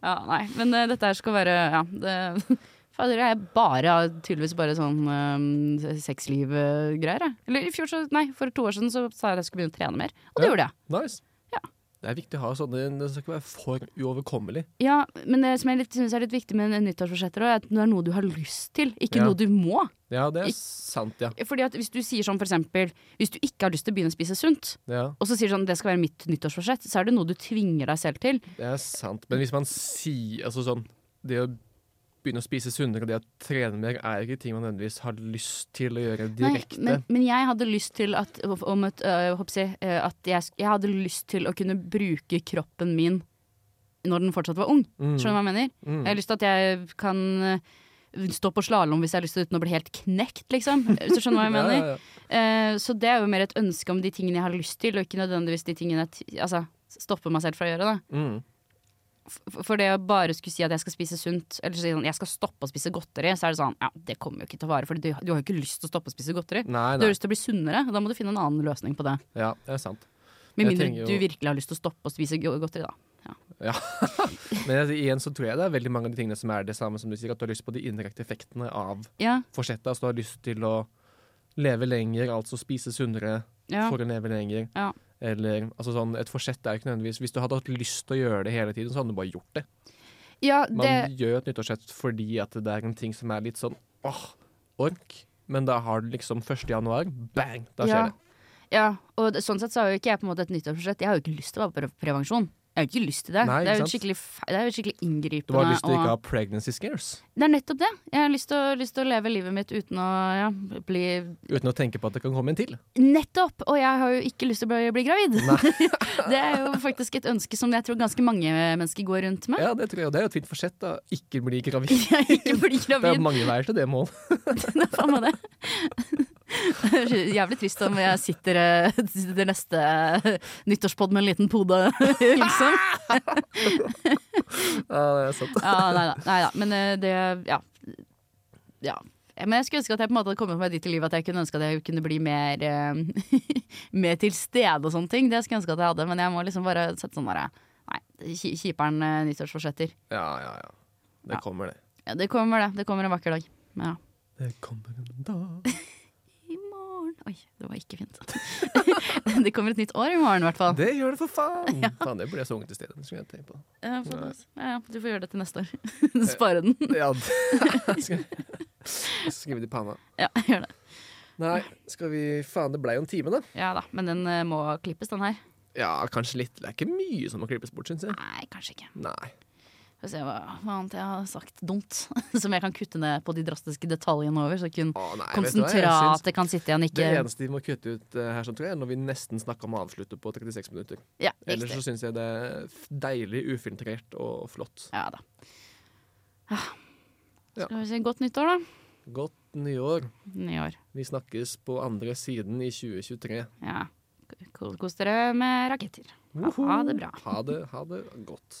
B: Ja, nei, men eh, dette her skal være Ja, det Fader, jeg bare har tydeligvis bare sånn eh, sexliv-greier, jeg. Eller i fjor, så Nei, for to år siden så sa jeg at jeg skulle begynne å trene mer, og
A: Ja.
B: det gjorde jeg.
A: Nice.
B: Ja.
A: Det er viktig å ha sånne, det skal ikke være for uoverkommelig.
B: Ja, men det som jeg litt, synes er litt viktig med en- en nyttårsforsetter, også, er at det er noe du har lyst til, ikke
A: Ja.
B: noe du må.
A: Ja, det er
B: Ik-
A: sant, ja.
B: Fordi at hvis du sier sånn for eksempel, hvis du ikke har lyst til å begynne å spise sunt,
A: ja.
B: og så sier du sånn det skal være mitt nyttårsforsett, så er det noe du tvinger deg selv til.
A: Det er sant. Men hvis man sier altså sånn Det å begynne å spise sunnere og det å trene mer er ikke ting man nødvendigvis har lyst til å gjøre
B: Nei,
A: direkte.
B: men, men jeg hadde lyst til at, om et, øh, hva skal jeg si, øh, at jeg, sk- jeg hadde lyst til å kunne bruke kroppen min når den fortsatt var ung.
A: Mm.
B: Skjønner du hva jeg mener?
A: Mm.
B: Jeg har lyst til at jeg kan øh, stå på slalåm hvis jeg har lyst til uten å bli helt knekt, liksom. Hvis du skjønner hva jeg
A: Ja,
B: mener?
A: ja, ja.
B: Eh, Så det er jo mer et ønske om de tingene jeg har lyst til, og ikke nødvendigvis de tingene jeg t- altså, stopper meg selv fra å gjøre. Da.
A: Mm.
B: F- For det å bare skulle si at jeg skal spise sunt, eller si sånn, jeg skal stoppe å spise godteri, så er det sånn ja, det kommer jo ikke til å vare, for du, du har jo ikke lyst til å stoppe å spise godteri.
A: Nei,
B: Du
A: nei.
B: har lyst til å bli sunnere, og da må du finne en annen løsning på det.
A: Ja, det er sant.
B: Med
A: Jeg
B: mindre
A: tenker jo-
B: du virkelig har lyst til å stoppe å spise go- godteri, da.
A: Men jeg- igjen så tror jeg det er veldig mange av de tingene som er det samme som du sier, at du har lyst på de indirekte effektene av
B: Ja,
A: forsettet. Altså du har lyst til å leve lenger, altså spise sunnere
B: ja.
A: for å leve lenger.
B: Ja.
A: Eller altså sånn, et forsett er jo ikke nødvendigvis Hvis du hadde hatt lyst til å gjøre det hele tiden, så hadde du bare gjort det.
B: ja
A: Man
B: det
A: gjør et nyttårsett fordi at det er en ting som er litt sånn åh, ork. Men da har du liksom 1. januar, bang, da skjer det.
B: Ja, og det, sånn sett så har jo ikke jeg på en måte et nyttårsforsett. Jeg har jo ikke lyst til å være på pre- prevensjon. Jeg har jo ikke lyst til det.
A: Nei,
B: det, er jo
A: ikke sant?
B: skikkelig, fe- det er jo skikkelig inngripende.
A: Du har lyst til
B: og-
A: ikke å ha pregnancy scares.
B: Det er nettopp det. Jeg har lyst til å, lyst til å leve livet mitt uten å ja, bli
A: Uten å tenke på at det kan komme en til.
B: Nettopp! Og jeg har jo ikke lyst til å bli, bli gravid. det er jo faktisk et ønske som jeg tror ganske mange mennesker går rundt med.
A: Ja, det tror jeg, og det er jo et fint forsett. da Ikke bli gravid.
B: Jeg ikke bli
A: Det er
B: gravid.
A: mange veier til det målet.
B: Det er faen meg det. Det er Jævlig trist om jeg sitter eh, til neste nyttårspod med en liten pode, liksom.
A: Ja, det er sant.
B: Ja, nei da. Nei da. Men eh, det ja. ja. Men jeg skulle ønske at jeg på en måte hadde kommet meg dit i livet at jeg kunne ønske at jeg kunne bli mer, eh, mer til stede og sånne ting. Det skulle jeg ønske at jeg hadde, men jeg må liksom bare sette sånn derre Nei, ki- kjiperen eh, nyttårsforsetter.
A: Ja, ja, ja. Det
B: Ja.
A: kommer, det.
B: Ja, det kommer, det. Det kommer en vakker dag. Ja.
A: Det kommer en dag
B: I morgen Oi, det var ikke fint. det kommer et nytt år i morgen, i hvert fall.
A: Det gjør det, for faen! Faen, det burde jeg sunget i stedet. Det skulle jeg tenkt på.
B: Ja, faen, ass. ja, ja, du får gjøre det til neste år. Spare den.
A: Ja, det- skal jeg skrive det i panna.
B: Ja, gjør det.
A: Nei, skal vi Faen, det blei jo en time, da.
B: Ja da. Men den eh, må klippes, den her.
A: Ja, kanskje litt. Det er ikke mye som må klippes bort, syns jeg.
B: Nei, kanskje ikke.
A: Nei.
B: Skal vi se hva, hva annet jeg har sagt dumt som jeg kan kutte ned på de drastiske detaljene over. Så kun
A: Å, nei vet du hva? Jeg syns
B: konsentratet kan sitte igjen,
A: det
B: ikke
A: eneste vi må kutte ut eh, her, sånn tror jeg, er når vi nesten snakker om å avslutte på 36 minutter.
B: Ja,
A: Ellers
B: riktig.
A: så syns jeg det er f- deilig, ufiltrert og flott.
B: Ja da. Ah.
A: Ja.
B: Skal vi si godt nyttår, da.
A: Godt nyår.
B: Nyår.
A: Vi snakkes på andre siden i 2023.
B: Ja.
C: Ko- Kos dere med raketter. Ha, ha det bra.
A: Ha det, ha det godt.